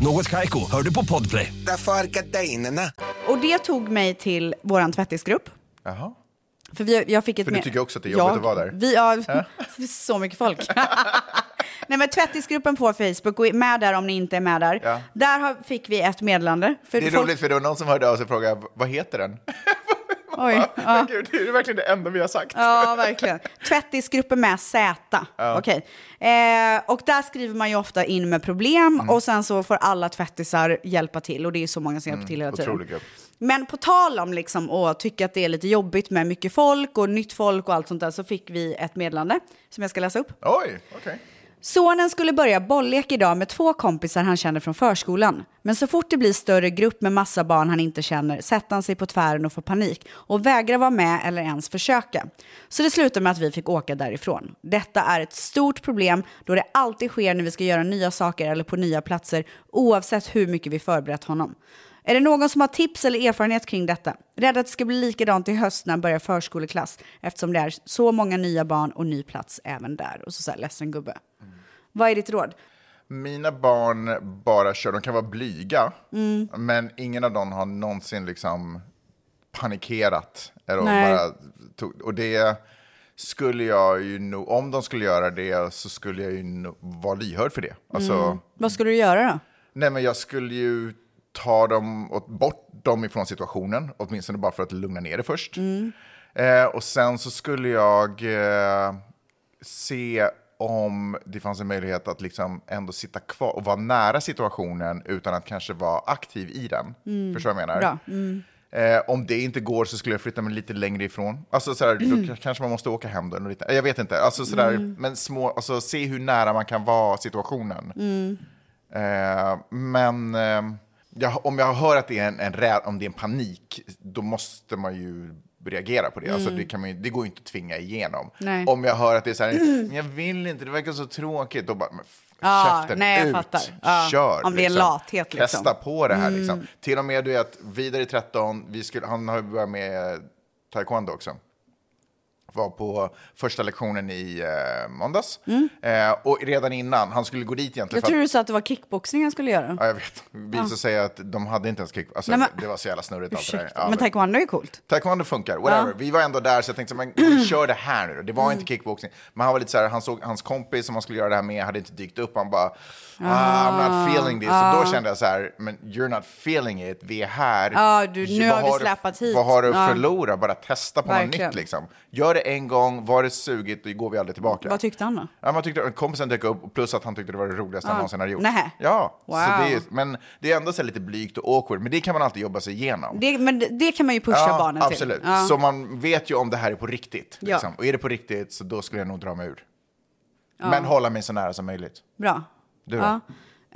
Något Kaiko, hör du på podplay.
Därför är gardinerna.
Och det tog mig till våran tvättisgrupp.
Jaha.
För, vi, jag fick ett
För du
med-
tycker också att det är jobbigt
Jag-
att vara där? Äh?
Vi, ja, det är så mycket folk. Nej, men tvättisgruppen på Facebook, gå med där om ni inte är med där.
Ja.
Där har, fick vi ett meddelande. För
det är
folk-
roligt för det var någon som hörde av sig och frågade vad heter den?
Oj, ja.
Gud, det är verkligen det enda vi har sagt.
Ja, verkligen. Tvättisgruppen med Z.
Ja.
Okej. Eh, och där skriver man ju ofta in med problem
Mm.
och sen så får alla tvättisar hjälpa till. Och det är ju så många
Mm,
som hjälper till hela tiden.
Otrolig grupp.
Men på tal om liksom att tycka att det är lite jobbigt med mycket folk och nytt folk och allt sånt där så fick vi ett meddelande som jag ska läsa upp.
Oj, okej.
Sonen skulle börja bolllek idag med två kompisar han känner från förskolan. Men så fort det blir större grupp med massa barn han inte känner sätter han sig på tvären och får panik och vägrar vara med eller ens försöka. Så det slutar med att vi fick åka därifrån. Detta är ett stort problem då det alltid sker när vi ska göra nya saker eller på nya platser oavsett hur mycket vi förberett honom. Är det någon som har tips eller erfarenhet kring detta? Rädd att det ska bli likadant i höst när han börjar förskoleklass eftersom det är så många nya barn och ny plats även där. Och så, så här, ledsen gubbe.
Mm.
Vad är ditt råd?
Mina barn bara kör, de kan vara blyga,
Mm.
men ingen av dem har någonsin liksom panikerat. Eller
Nej.
bara tog, och det skulle jag ju nog, om de skulle göra det så skulle jag ju nog vara lyhörd för det. Alltså,
Mm. Vad skulle du göra då?
Nej, men jag skulle ju ta dem, och bort dem ifrån situationen, åtminstone bara för att lugna ner det först.
Mm.
Eh, och sen så skulle jag eh, se om det fanns en möjlighet att liksom ändå sitta kvar och vara nära situationen utan att kanske vara aktiv i den.
Mm.
Förstår du vad jag menar?
Bra. Mm.
Eh, om det inte går så skulle jag flytta mig lite längre ifrån. Alltså sådär, då k- kanske man måste åka hem då. eller lite- Jag vet inte. Alltså sådär,
Mm.
men små, alltså, se hur nära man kan vara situationen.
Mm.
Eh, men eh, jag, om jag hör att det är en, en, rä- om det är en panik, då måste man ju reagera på det. Alltså,
Mm.
det, kan man ju, det går ju inte att tvinga igenom.
Nej.
Om jag hör att det är så här, "Men jag vill inte, det verkar så tråkigt, då bara, men f-
Ja,
käften
nej, jag
ut,
fattar. Ja.
kör.
Om det är en lathet, liksom.
Testa på det här
Mm.
liksom. Till och med, du vet, vidare i 13, vi skulle, han har ju börjat med taekwondo också var på första lektionen i eh, måndags. Eh, och redan innan, han skulle gå dit egentligen.
Mm. Jag
för att-
tror du sa att det var kickboxning han skulle göra.
Ja, jag vet. Vi
Ja.
ska säga att de hade inte ens kick. Alltså,
Nej, men-
Det var så jävla snurrigt allt det där.
Ursäkta, men taekwondo är ju coolt.
Taekwondo funkar, whatever.
Ja. Mm.
Vi var ändå där så jag tänkte, men vi kör det här nu då. Det var inte kickboxning. Men han var lite så här, han såg hans kompis som han skulle göra det här med, hade inte dykt upp. Han bara, ah, I'm
Ah,
not feeling this.
ah.
Så då kände jag så här, men you're not feeling it, vi är här.
Ja, du, nu
Vad
har vi
du-
släpat hit.
Vad har du att
Ja.
förlora? Bara testa på något
Verkligen.
nytt liksom. Gör det en gång, var det sugigt, då går vi aldrig tillbaka.
Vad tyckte han då?
Ja, man tyckte, kompisen dök upp, plus att han tyckte det var det roligaste
Ah.
han någonsin hade gjort.
Nähä.
Ja,
Wow.
så det är, men det är ändå så här lite blygt och awkward, men det kan man alltid jobba sig igenom.
Det, men det- det kan man ju pusha
ja,
barnen till.
absolut.
Ja.
Så man vet ju om det här är på riktigt.
Ja.
Liksom. Och är det på riktigt så då skulle jag nog dra mig ur.
Ja.
Men hålla mig så nära som möjligt.
Bra.
Du då?
Ja.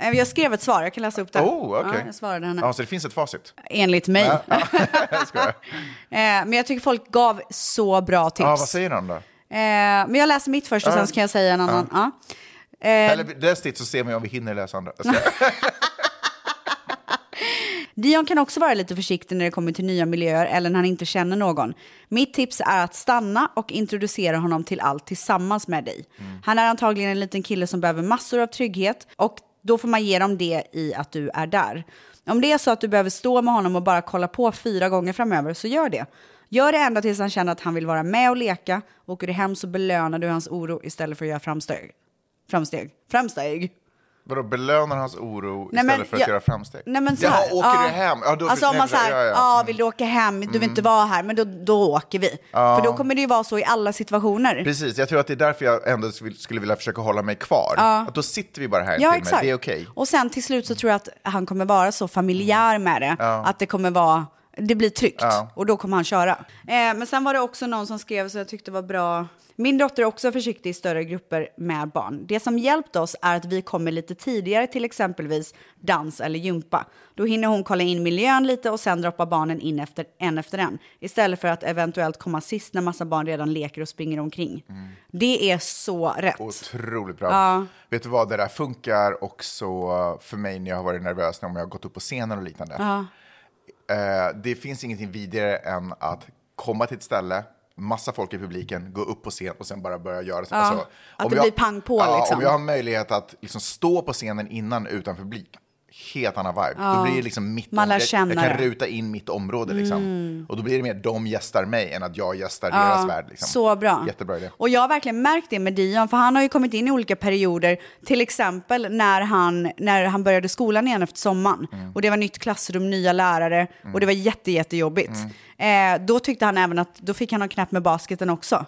Eh, Jag skrev ett svar, jag kan läsa upp det.
Oh, okej.
ja, jag svarade henne.
Ja, så det finns ett facit.
Enligt mig.
Ja, ja,
Eh, men jag tycker folk gav så bra tips.
vad säger han då?
Eh, men jag läser mitt först och
Ja.
sen så kan jag säga en annan. Ja. Eh,
Eller läs ditt så ser vi om vi hinner läsa andra. Så-
Dion kan också vara lite försiktig när det kommer till nya miljöer eller när han inte känner någon. Mitt tips är att stanna och introducera honom till allt tillsammans med dig. Han är antagligen en liten kille som behöver massor av trygghet och då får man ge dem det i att du är där. Om det är så att du behöver stå med honom och bara kolla på fyra gånger framöver så gör det. Gör det ända tills han känner att han vill vara med och leka. Åker du hem så belönar du hans oro istället för att göra framsteg. Framsteg. Framsteg.
Vadå, belönar hans oro
Nej, men
istället för att
jag-
göra framsteg?
Nej, men så
Jaha,
här,
åker
ja.
du hem? Ja, då,
alltså om
nej,
man säger, ja,
ja, ja.
vill du åka hem? Du vill
Mm.
inte vara här, men då, då åker vi.
Ja.
För då kommer det ju vara så i alla situationer.
Precis, jag tror att det är därför jag ändå skulle- skulle vilja försöka hålla mig kvar.
Ja.
Att då sitter vi bara här
Ja,
till
exakt.
mig, det är okej. Mm.
Och sen till slut så tror jag att han kommer vara så familjär med det,
Ja.
att det kommer vara, det blir tryggt
Ja.
och då kommer han köra. Eh, men sen var det också någon som skrev så jag tyckte var bra. Min dotter är också försiktig i större grupper med barn. Det som hjälpt oss är att vi kommer lite tidigare till exempelvis dans eller gympa. Då hinner hon kolla in miljön lite och sen droppar barnen in efter, en efter en. Istället för att eventuellt komma sist när massa barn redan leker och springer omkring. Det är så rätt.
Mm. Otroligt bra.
Ja.
Vet du vad, det där funkar också för mig när jag har varit nervös, när jag har gått upp på scenen och liknande.
Ja.
Eh, det finns ingenting vidare än att komma till ett ställe, massa folk i publiken, gå upp på scen och sen bara börja göra så. Alltså,
Ja, att det blir pang på,
ja,
liksom.
Om jag har möjlighet att liksom stå på scenen innan utan publik, helt annan vibe.
Ja.
Då blir det liksom mitt
Man lär
om- jag,
känna
jag kan
det.
ruta in mitt område liksom.
Mm.
Och då blir det mer de gästar mig än att jag gästar
Ja,
deras värld. Liksom.
så bra.
Jättebra idé.
Och jag har verkligen märkt det med Dion, för han har ju kommit in i olika perioder. Till exempel när han, när han började skolan igen efter sommaren.
Mm.
Och det var nytt klassrum, nya lärare och det var jätte, jättejobbigt.
Mm.
Eh, då tyckte han även att, då fick han ha knäpp med basketen också.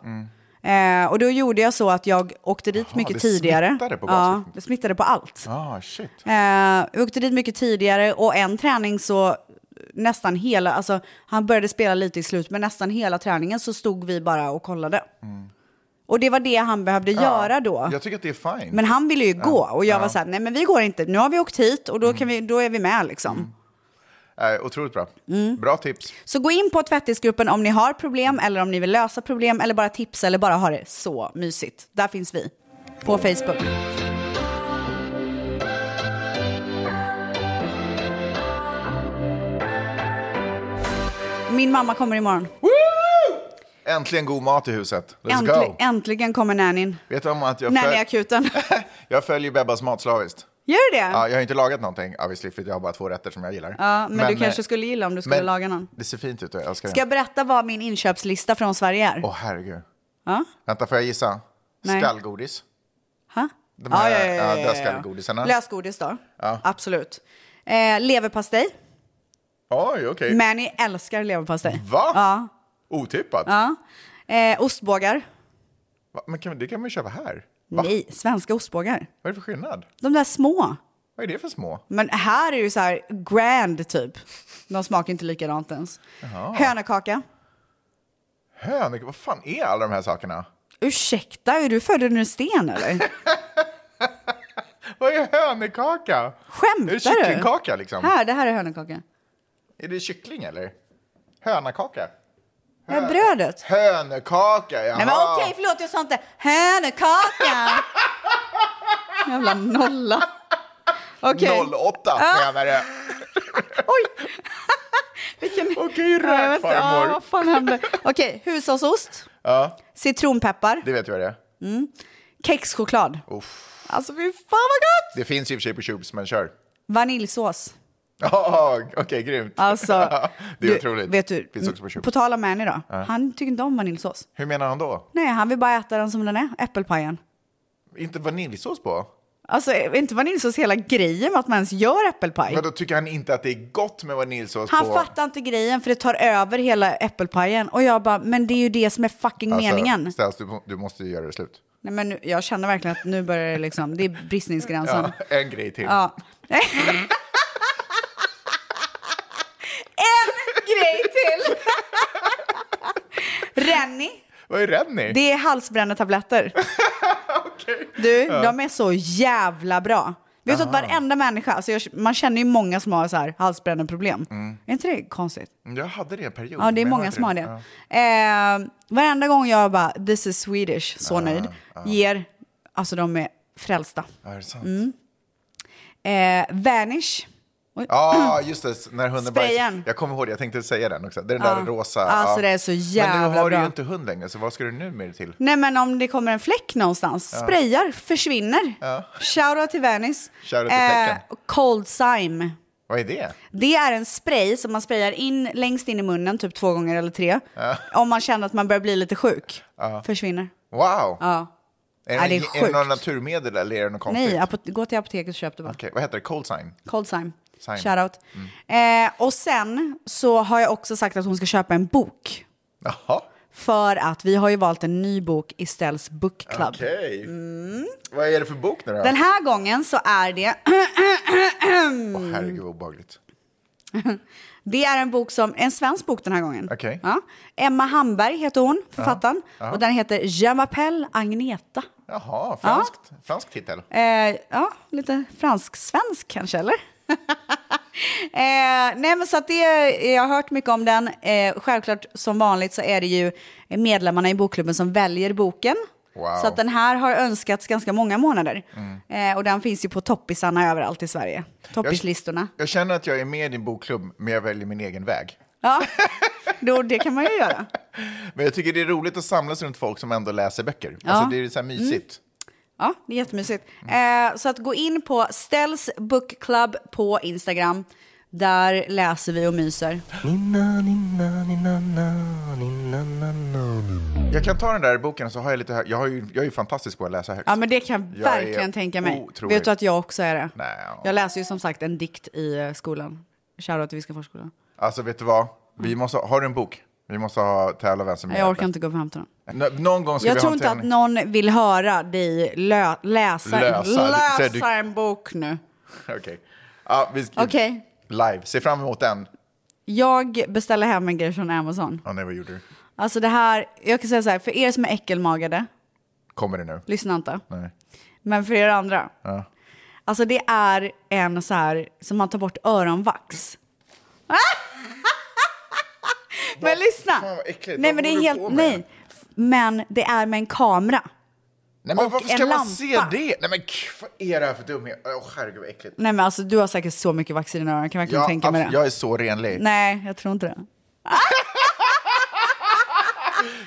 Eh, och då gjorde jag så att jag åkte dit mycket
det
tidigare.
smittade på
ja,
basketen.
det smittade på allt.
Ah, shit.
Eh, vi åkte dit mycket tidigare och en träning så nästan hela, alltså han började spela lite i slut, men nästan hela träningen så stod vi bara och kollade. Och det var det han behövde göra då.
Mm. Jag tycker att det är fine.
Men han ville ju
Ja,
gå och jag
ja. Mm.
var så här, nej men vi går inte, nu har vi åkt hit och då, kan vi, då är vi med liksom.
Eh, otroligt bra.
Mm.
Bra tips.
Så gå in på tvättisgruppen om ni har problem eller om ni vill lösa problem eller bara tipsa eller bara ha det så mysigt. Där finns vi, på Facebook. Min mamma kommer imorgon.
Äntligen god mat i huset. Let's
Äntli-
go.
äntligen kommer nannyn.
Vet du om att jag, föl-
Nannyakuten.
jag följer Bebbas mat slaviskt?
Gör du det?
Ja, jag har inte lagat någonting, obviously, för jag har bara två rätter som jag gillar.
Ja, men, du kanske
eh,
skulle gilla om du skulle
men-
laga någon.
Det ser fint ut, jag älskar
Ska jag
det.
berätta vad min inköpslista från Sverige är?
Åh, herregud.
Ja?
Vänta, får jag gissa?
Nej.
Skallgodis?
Ha?
De här
ja, ja, ja, ja, ja, ja.
dödskallgodisarna?
Lösgodis då,
Ja.
absolut. Eh, leverpastej.
Oj, okej.
Mani älskar leverpastej.
Va?
Ja.
Otippat.
ja. Eh, ostbågar.
Va? Men kan, det kan man ju köpa här. Va?
Nej, svenska ostbågar.
Vad är det för skillnad?
De där små.
Vad är det för små?
Men här är det ju så här grand typ. De smakar inte likadant ens.
Jaha.
Hönökaka.
Hönor, vad fan är alla de här sakerna?
Ursäkta, är du född under en sten eller?
Vad är hönekaka?
Skämtar du?
Är det kycklingkaka liksom?
Här, det här är hönökaka.
Är det kyckling eller? Hönakaka?
Det här är brödet.
Hönekaka, jaha.
Nej men okej, förlåt jag sa inte hönökaka. Jävla nolla. Okej. Ah.
08
Ja.
senare.
Vilken... Nej,
Okej,
vänta.
farmor.
Ja, vad fan hände? Okej, hushållsost,
Ja,
citronpeppar,
det vet jag det är.
mm. kexchoklad.
Uff.
Alltså fy fan vad gott!
Det finns ju i och för sig på Tubes, men kör.
Vaniljsås.
Oh, okej, grymt.
Alltså,
det är
du-
otroligt.
Vet du,
finns också på Tubes.
på tal om Mani då,
Ja.
han tycker inte om vaniljsås.
Hur menar han då?
Nej, han vill bara äta den som den är, äppelpajen.
Inte vaniljsås på?
Alltså är inte vaniljsås hela grejen med att man ens gör äppelpaj?
Men då tycker han inte att det är gott med vaniljsås
Han
på?
fattar inte grejen för det tar över hela äppelpajen. Och jag bara, men det är ju det som är fucking
Alltså,
meningen.
Ställs, du, du måste ju göra det slut.
Nej, men nu, jag känner verkligen att nu börjar det liksom, det är bristningsgränsen.
Ja, en grej till.
Alltså. Ja. en grej till! Renny,
Vad är Renny?
det är halsbrännetabletter. Du,
Ja.
de är så jävla bra. Vet du att
Aha.
varenda människa, alltså jag, man känner ju många som har så här halsbränneproblem.
Mm.
Är inte det konstigt?
Jag hade det en period.
Ja,
men
det är
jag
många
hade
som har
Ja.
det. Eh, varenda gång jag bara, this is Swedish, så nöjd, ger, alltså de är frälsta.
Ja, är det sant?
Mm. Eh, Vanish. Oj.
Ja, just det. När hunden
Sprayen.
bajsar. Jag kommer ihåg det, jag tänkte säga den också. Det är den
Ja.
där rosa.
Alltså,
ja.
det är så
Men nu
jävla
har du
bra.
ju inte hund längre, så vad ska du nu med det till?
Nej men om det kommer en fläck någonstans,
Ja.
sprayar, försvinner.
Ja.
Shoutout till Vanish.
Shoutout till fläcken.
Cold Sime.
Vad är det?
Det är en spray som man sprayar in längst in i munnen, typ två gånger eller tre.
Ja.
Om man känner att man börjar bli lite sjuk.
Ja.
Försvinner.
Wow!
Ja.
Är,
Nej, det
det,
är
är det
sjukt.
några naturmedel eller är det något konstigt?
Nej, apo- gå till apoteket och köp det bara.
Okej, vad heter det? Cold sign?
Cold sign.
Sign.
Shoutout.
Mm.
Eh, och sen så har jag också sagt att hon ska köpa en bok.
Jaha.
För att vi har ju valt en ny bok i Stells Book Club.
Okej. Vad är det för bok nu då?
Mm. Den här gången så är det...
Åh, herregud vad obehagligt.
det är en bok som... En svensk bok den här gången.
Okej.
Ja. Emma Hamberg heter hon, författaren.
Ja, ja.
Och den heter Je m'appelle Agneta.
Jaha, franskt, fransk titel.
Eh, ja, lite fransk-svensk kanske, eller? eh, nej, men så att det, jag har hört mycket om den. Eh, självklart, som vanligt, så är det ju medlemmarna i bokklubben som väljer boken.
Wow.
Så att den här har önskats ganska många månader.
Mm.
Eh, och den finns ju på toppisarna överallt i Sverige. Toppislistorna.
Jag känner att jag är med i din bokklubb, men jag väljer min egen väg.
Ja, då, det kan man ju göra.
Men jag tycker det är roligt att samlas runt folk som ändå läser böcker.
Ja. Mm.
Alltså det är så här mysigt.
Ja, det är jättemysigt. Eh, så att gå in på Stells Book Club på Instagram. Där läser vi och myser.
Jag kan ta den där boken så har jag lite hö- jag, har ju, jag är ju fantastisk på att läsa högt.
Ja, men det kan jag
Jag
verkligen
är
tänka mig.
otroligt.
Vet du att jag också är det?
Nej.
Jag läser ju som sagt en dikt i eh, skolan. Shoutout till Viskaforsskolan.
Alltså vet du vad? Vi måste, ha- har du en bok? Vi måste ha tävla vem som
Nej,
gör
Jag
det.
orkar inte gå upp och hämta den.
Nå- Någon gång ska
Jag
vi
tror
ha en
inte att
tävling.
någon vill höra dig lö- läsa,
Lösa.
läsa
Så du-
en bok nu.
Okej. Ja, vi ska...
Okej.
Live. Se fram emot den.
Jag beställer hem en grej från Amazon.
Ja, nej, vad gjorde du?
Alltså det här, jag kan säga så här, för er som är äckelmagade,
Kommer det nu?
lyssna inte.
Nej.
Men för er andra,
Ja.
alltså det är en så här som man tar bort öronvax. Men lyssna!
Fan, vad äckligt.
Nej
Vad
men det är
håller du
helt,
på med?
nej. Men det är med en kamera.
Nej, men
Och
varför
en
ska man
lampa.
se det? Nej, men k- vad är det här för dumhet? Åh, oh, herregud vad äckligt.
Nej men alltså du har säkert så mycket vax i dina öron, jag kan verkligen
Jag,
tänka mig
abs-
det.
jag är så renlig.
Nej, jag tror inte det.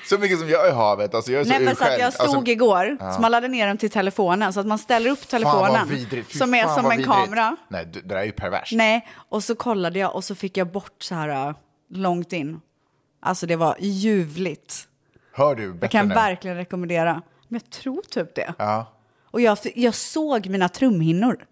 Så mycket som jag är i havet. Alltså, jag är så
Nej men så att
urskälld.
jag stod
Alltså,
igår,
Ja.
så man laddade ner dem till telefonen, så att man ställer upp
Fan
telefonen
vad vidrigt. Fy
som är
fan
som en
vad vidrigt.
kamera.
Nej, du- det där är ju perverst.
Nej, och så kollade jag och så fick jag bort så här äh, långt in. Alltså det var ljuvligt.
Hör du bättre
Jag kan
nu?
verkligen rekommendera. Men jag tror typ det.
Ja.
Och jag, jag såg mina trumhinnor.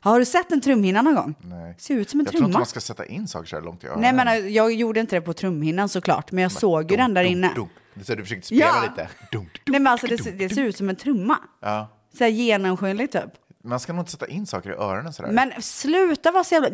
Har du sett en trumhinna någon gång?
Nej.
Ser ut som en
jag tror
trumma.
inte man ska sätta in saker så här långt i öronen.
Nej, men äh, jag gjorde inte det på trumhinnan såklart, men jag såg ju den där inne.
Det är så du försökte spela
Ja.
lite. Dunk.
Nej, men alltså det, ser- det ser ut som en trumma.
Ja.
Så här genomskinlig typ.
Man ska nog inte sätta in saker i öronen sådär.
Men sluta vara så jävla...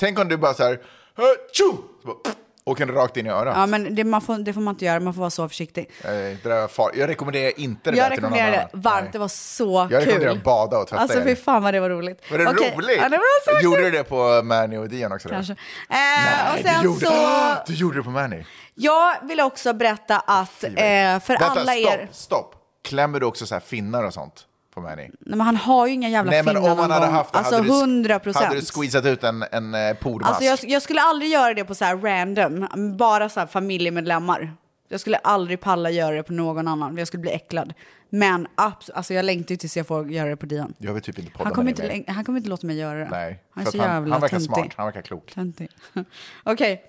Tänk om du bara så här... "Hö, tjo!" Så bara, pff, Åker den rakt in i örat.
Ja, men det, man får, det får man inte göra, man får vara så försiktig.
Eh, Det där var far... Jag rekommenderar inte det där
Jag
till någon
rekommenderar det
annan.
varmt,
Nej.
det var så
Jag
kul.
rekommenderar att bada och tvätta
Alltså
er.
fy fan vad det var roligt.
Var det
Okej.
roligt?
Ja, det var så
Gjorde du det på Mani och Dion också? då?
Kanske. Alltså- Eh,
Nej,
och sen
du gjorde,
så,
du gjorde det på Mani.
jag vill också berätta att eh, för
Vänta,
alla
stopp,
er...
stopp. Klämmer du också så här finnar och sånt på Mani?
Nej, men han har ju inga jävla
Nej, men
finnar
om man
någon
hade
gång.
haft det,
Alltså
hade, du,
hundra
sk- hade du
procent.
squeezat ut en, en eh, pormask?
Alltså jag, jag skulle aldrig göra det på så här random, bara så här familjemedlemmar. Jag skulle aldrig palla göra det på någon annan, för jag skulle bli äcklad. Men abs- alltså jag längtar ju tills jag får göra det på Dion.
Jag vill typ inte podda
Han kommer
med
inte,
dig mer.
läng- han kommer inte låta mig göra det.
Nej,
han är
för
så
att
jävla
han, han verkar
töntig.
smart, han verkar klok.
Töntig. Okej.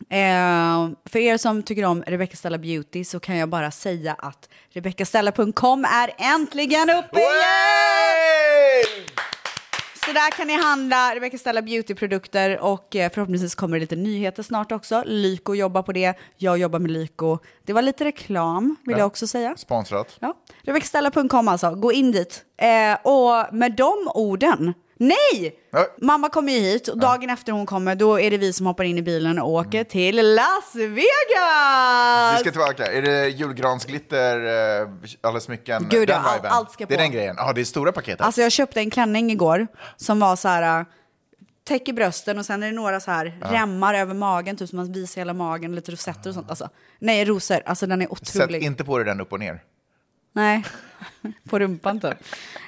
Eh, för er som tycker om Rebecca Stella Beauty så kan jag bara säga att rebeccastella.com är äntligen uppe igen! Så där kan ni handla Rebecca Stella Beauty-produkter och eh, förhoppningsvis kommer det lite nyheter snart också. Lyko jobbar på det, jag jobbar med Lyko. Det var lite reklam vill
Ja.
jag också säga.
Sponsrat.
Ja, rebeccastella.com alltså, gå in dit. Eh, och med de orden, nej! Mamma kommer ju hit och dagen efter hon kommer då är det vi som hoppar in i bilen och åker till Las Vegas!
Mm. Vi
Alltså-
ska tillbaka. Är det julgransglitter, eh, alla smycken?
Gud,
den
ja, all-
viben?
allt ska
Det är
på.
den grejen. Ja, det är stora paketet.
Alltså jag köpte en klänning igår som var så här, äh, täcker brösten och sen är det några så här
Ja.
remmar över magen, typ som man visar hela magen, lite rosetter och sånt. Alltså, nej, rosor. Alltså den är
Sätt
otrolig.
inte på dig den upp och ner.
Nej, på rumpan typ. Eh, och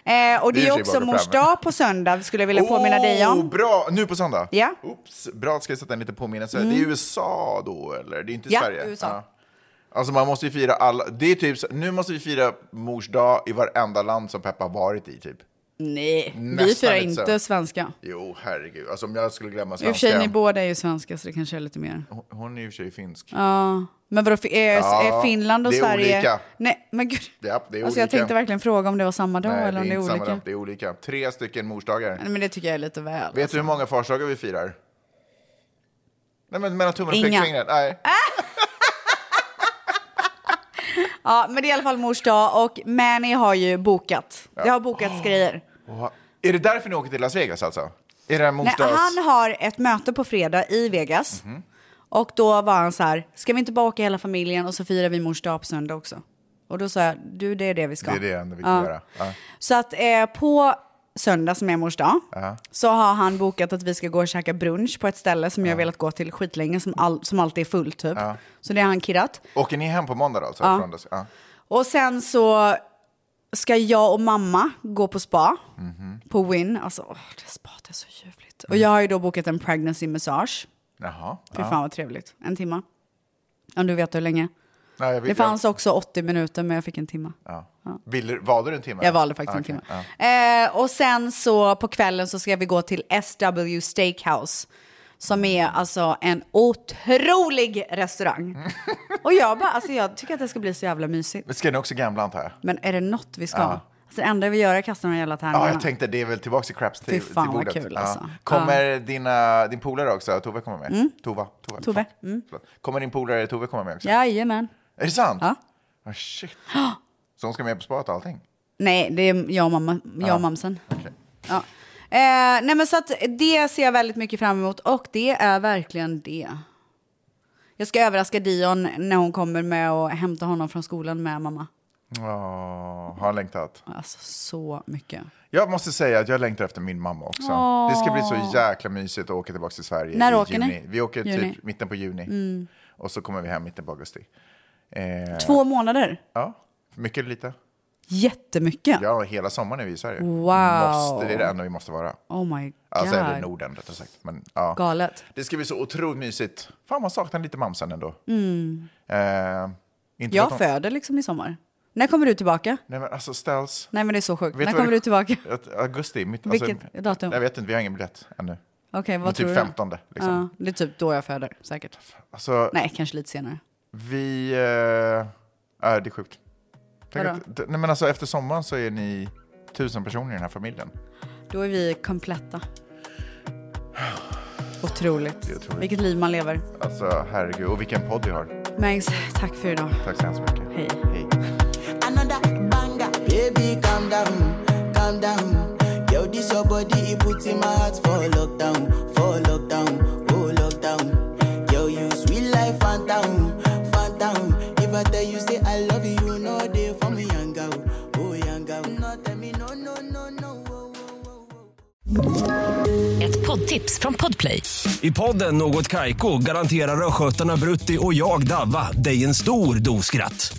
Det är
det är
ju
också
bara
mors
framme.
dag på söndag, skulle jag vilja påminna dig om.
Oh, Bra! Nu på söndag?
Ja.
Oops, bra, ska jag sätta en liten påminnelse.
Mm.
Det är USA då, eller? Det är inte
Ja,
Sverige?
USA.
Alltså man måste ju fira alla, det är typ så- nu måste vi fira mors dag i varenda land som Peppa har varit i typ.
Nej, vi
Nästan
firar
lite
inte
så.
svenska.
Jo, herregud. Alltså om jag skulle glömma
I och för sig, ni
svenska.
båda är ju svenska så det kanske är lite mer.
Hon är i och för sig finsk.
Ja, Men vadå, är,
Ja,
är Finland och
det är
Sverige...
olika.
Nej, men gud.
Ja, det är
Alltså, jag
olika.
tänkte verkligen fråga om det var samma dag
Nej,
eller om
det
det är
är inte samma
olika.
dag, det är olika. Tre stycken morsdagar.
Nej, Men det tycker jag är lite väl.
Vet du hur många farsdagar vi firar? Nej, men mellan tummen och
Inga.
pekfingret. Nej.
Ja, men det är i alla fall mors dag och Manny har ju bokat. Det har bokats grejer.
Åh, Är det därför ni åker till Las Vegas alltså? Är det
Nej,
mors dags? Mhm.
han har ett möte på fredag i Vegas. Och då var han så här, ska vi inte bara åka hela familjen och så firar vi mors dag på söndag också? Och då sa jag, du det är det vi ska.
Det är det enda vi kan
Ja.
göra. Ja.
Så att eh, på söndag som är mors dag
Ja.
så har han bokat att vi ska gå och käka brunch på ett ställe som jag velat gå till skitlänge som, all, som alltid är fullt typ.
Ja.
Så det har han kirrat.
Åker ni hem på måndag då? Alltså,
Ja.
från Las- ja.
Och sen så ska jag och mamma gå på spa
Mhm.
på Win. Alltså, åh, det spat är så ljuvligt. Och jag har ju då bokat en pregnancy massage.
Jaha.
Fy
Mm. ja.
fan vad trevligt. En timma. Om du vet hur länge.
Nej, jag vet-
det fanns också 80 minuter men jag fick en timma.
Ja. Vill, valde du en timme?
Jag valde faktiskt en
Ah, Okej,
timme. Eh, och sen så på kvällen så ska vi gå till SW Steakhouse. Som är alltså en otrolig restaurang. och jag bara, alltså jag tycker att det ska bli så jävla mysigt.
Men Ska ni också gamla antar jag?
Men är det något vi ska?
Ja.
Alltså det enda vi gör är att kasta de här jävla tärningarna.
Ja, jag tänkte det är väl tillbaka till craps till,
Fy fan
till
vad
bordet.
kul, alltså.
Kommer dina, din polare också, Tove kommer med?
Mm.
Tova, Tova.
Tove, Mm.
Förlåt. Förlåt. Kommer din polare Tove komma med också?
Jajamän.
Är det sant?
Ja.
Ah, shit. Så hon ska med på sparet och allting?
Nej, det är jag och, mamma, jag
Ja.
och mamsen.
Okej.
Ja. Eh, nej men så att det ser jag väldigt mycket fram emot och det är verkligen det. Jag ska överraska Dion när hon kommer med och hämta honom från skolan med mamma.
Åh, har han längtat?
Alltså så mycket.
Jag måste säga att jag längtar efter min mamma också.
Åh.
Det ska bli så jäkla mysigt att åka tillbaka till Sverige
När
i
åker
juni.
ni?
Vi åker
Juni.
typ mitten på juni.
Mm.
Och så kommer vi hem mitten på augusti. Eh,
Två månader?
Ja, mycket eller lite?
Jättemycket.
Ja, hela sommaren är vi i Sverige.
Wow.
Måste, det är det enda vi måste vara.
Oh my god.
Alltså, eller Norden rättare sagt. Men, ja.
Galet.
Det ska bli så otroligt mysigt. Fan, man saknar lite mamsen ändå.
Mm.
Eh, inte för att
Jag
hon-
föder liksom i sommar. När kommer du tillbaka?
Nej men alltså ställs.
Nej men det är så sjukt.
Vet
När
vad
kommer
det-
du tillbaka?
Att Augusti, mitt... alltså,
Vilket datum?
Jag vet inte, vi har ingen biljett ännu.
Okej, vad
Men
tror
typ
du?
15. Liksom.
Ja, det är typ då jag föder, säkert.
Alltså,
Nej, kanske lite senare.
Vi... Eh, är det är sjukt. Tänk
Vadå?
att, nej men alltså efter sommaren så är ni tusen personer i den här familjen.
Då är vi kompletta. Otroligt.
Det är otroligt.
Vilket liv man lever.
Alltså herregud, och vilken podd vi har.
Mangs, tack för idag.
Tack så hemskt mycket.
Hej.
Hej.
Another banger, baby, calm down, calm down. Yo, this your body, it puts in my heart for lockdown, for lockdown, oh lockdown. Yo, you sweet life, phantom, phantom. If I tell you say I love you, you know they for me, young girl, oh young girl. No, tell me no, no, no, no. oh.
Ett poddtips från Podplay.
I podden Något Kaiko garanterar östgötarna Brutti och jag, Davva, dig en stor dos skratt.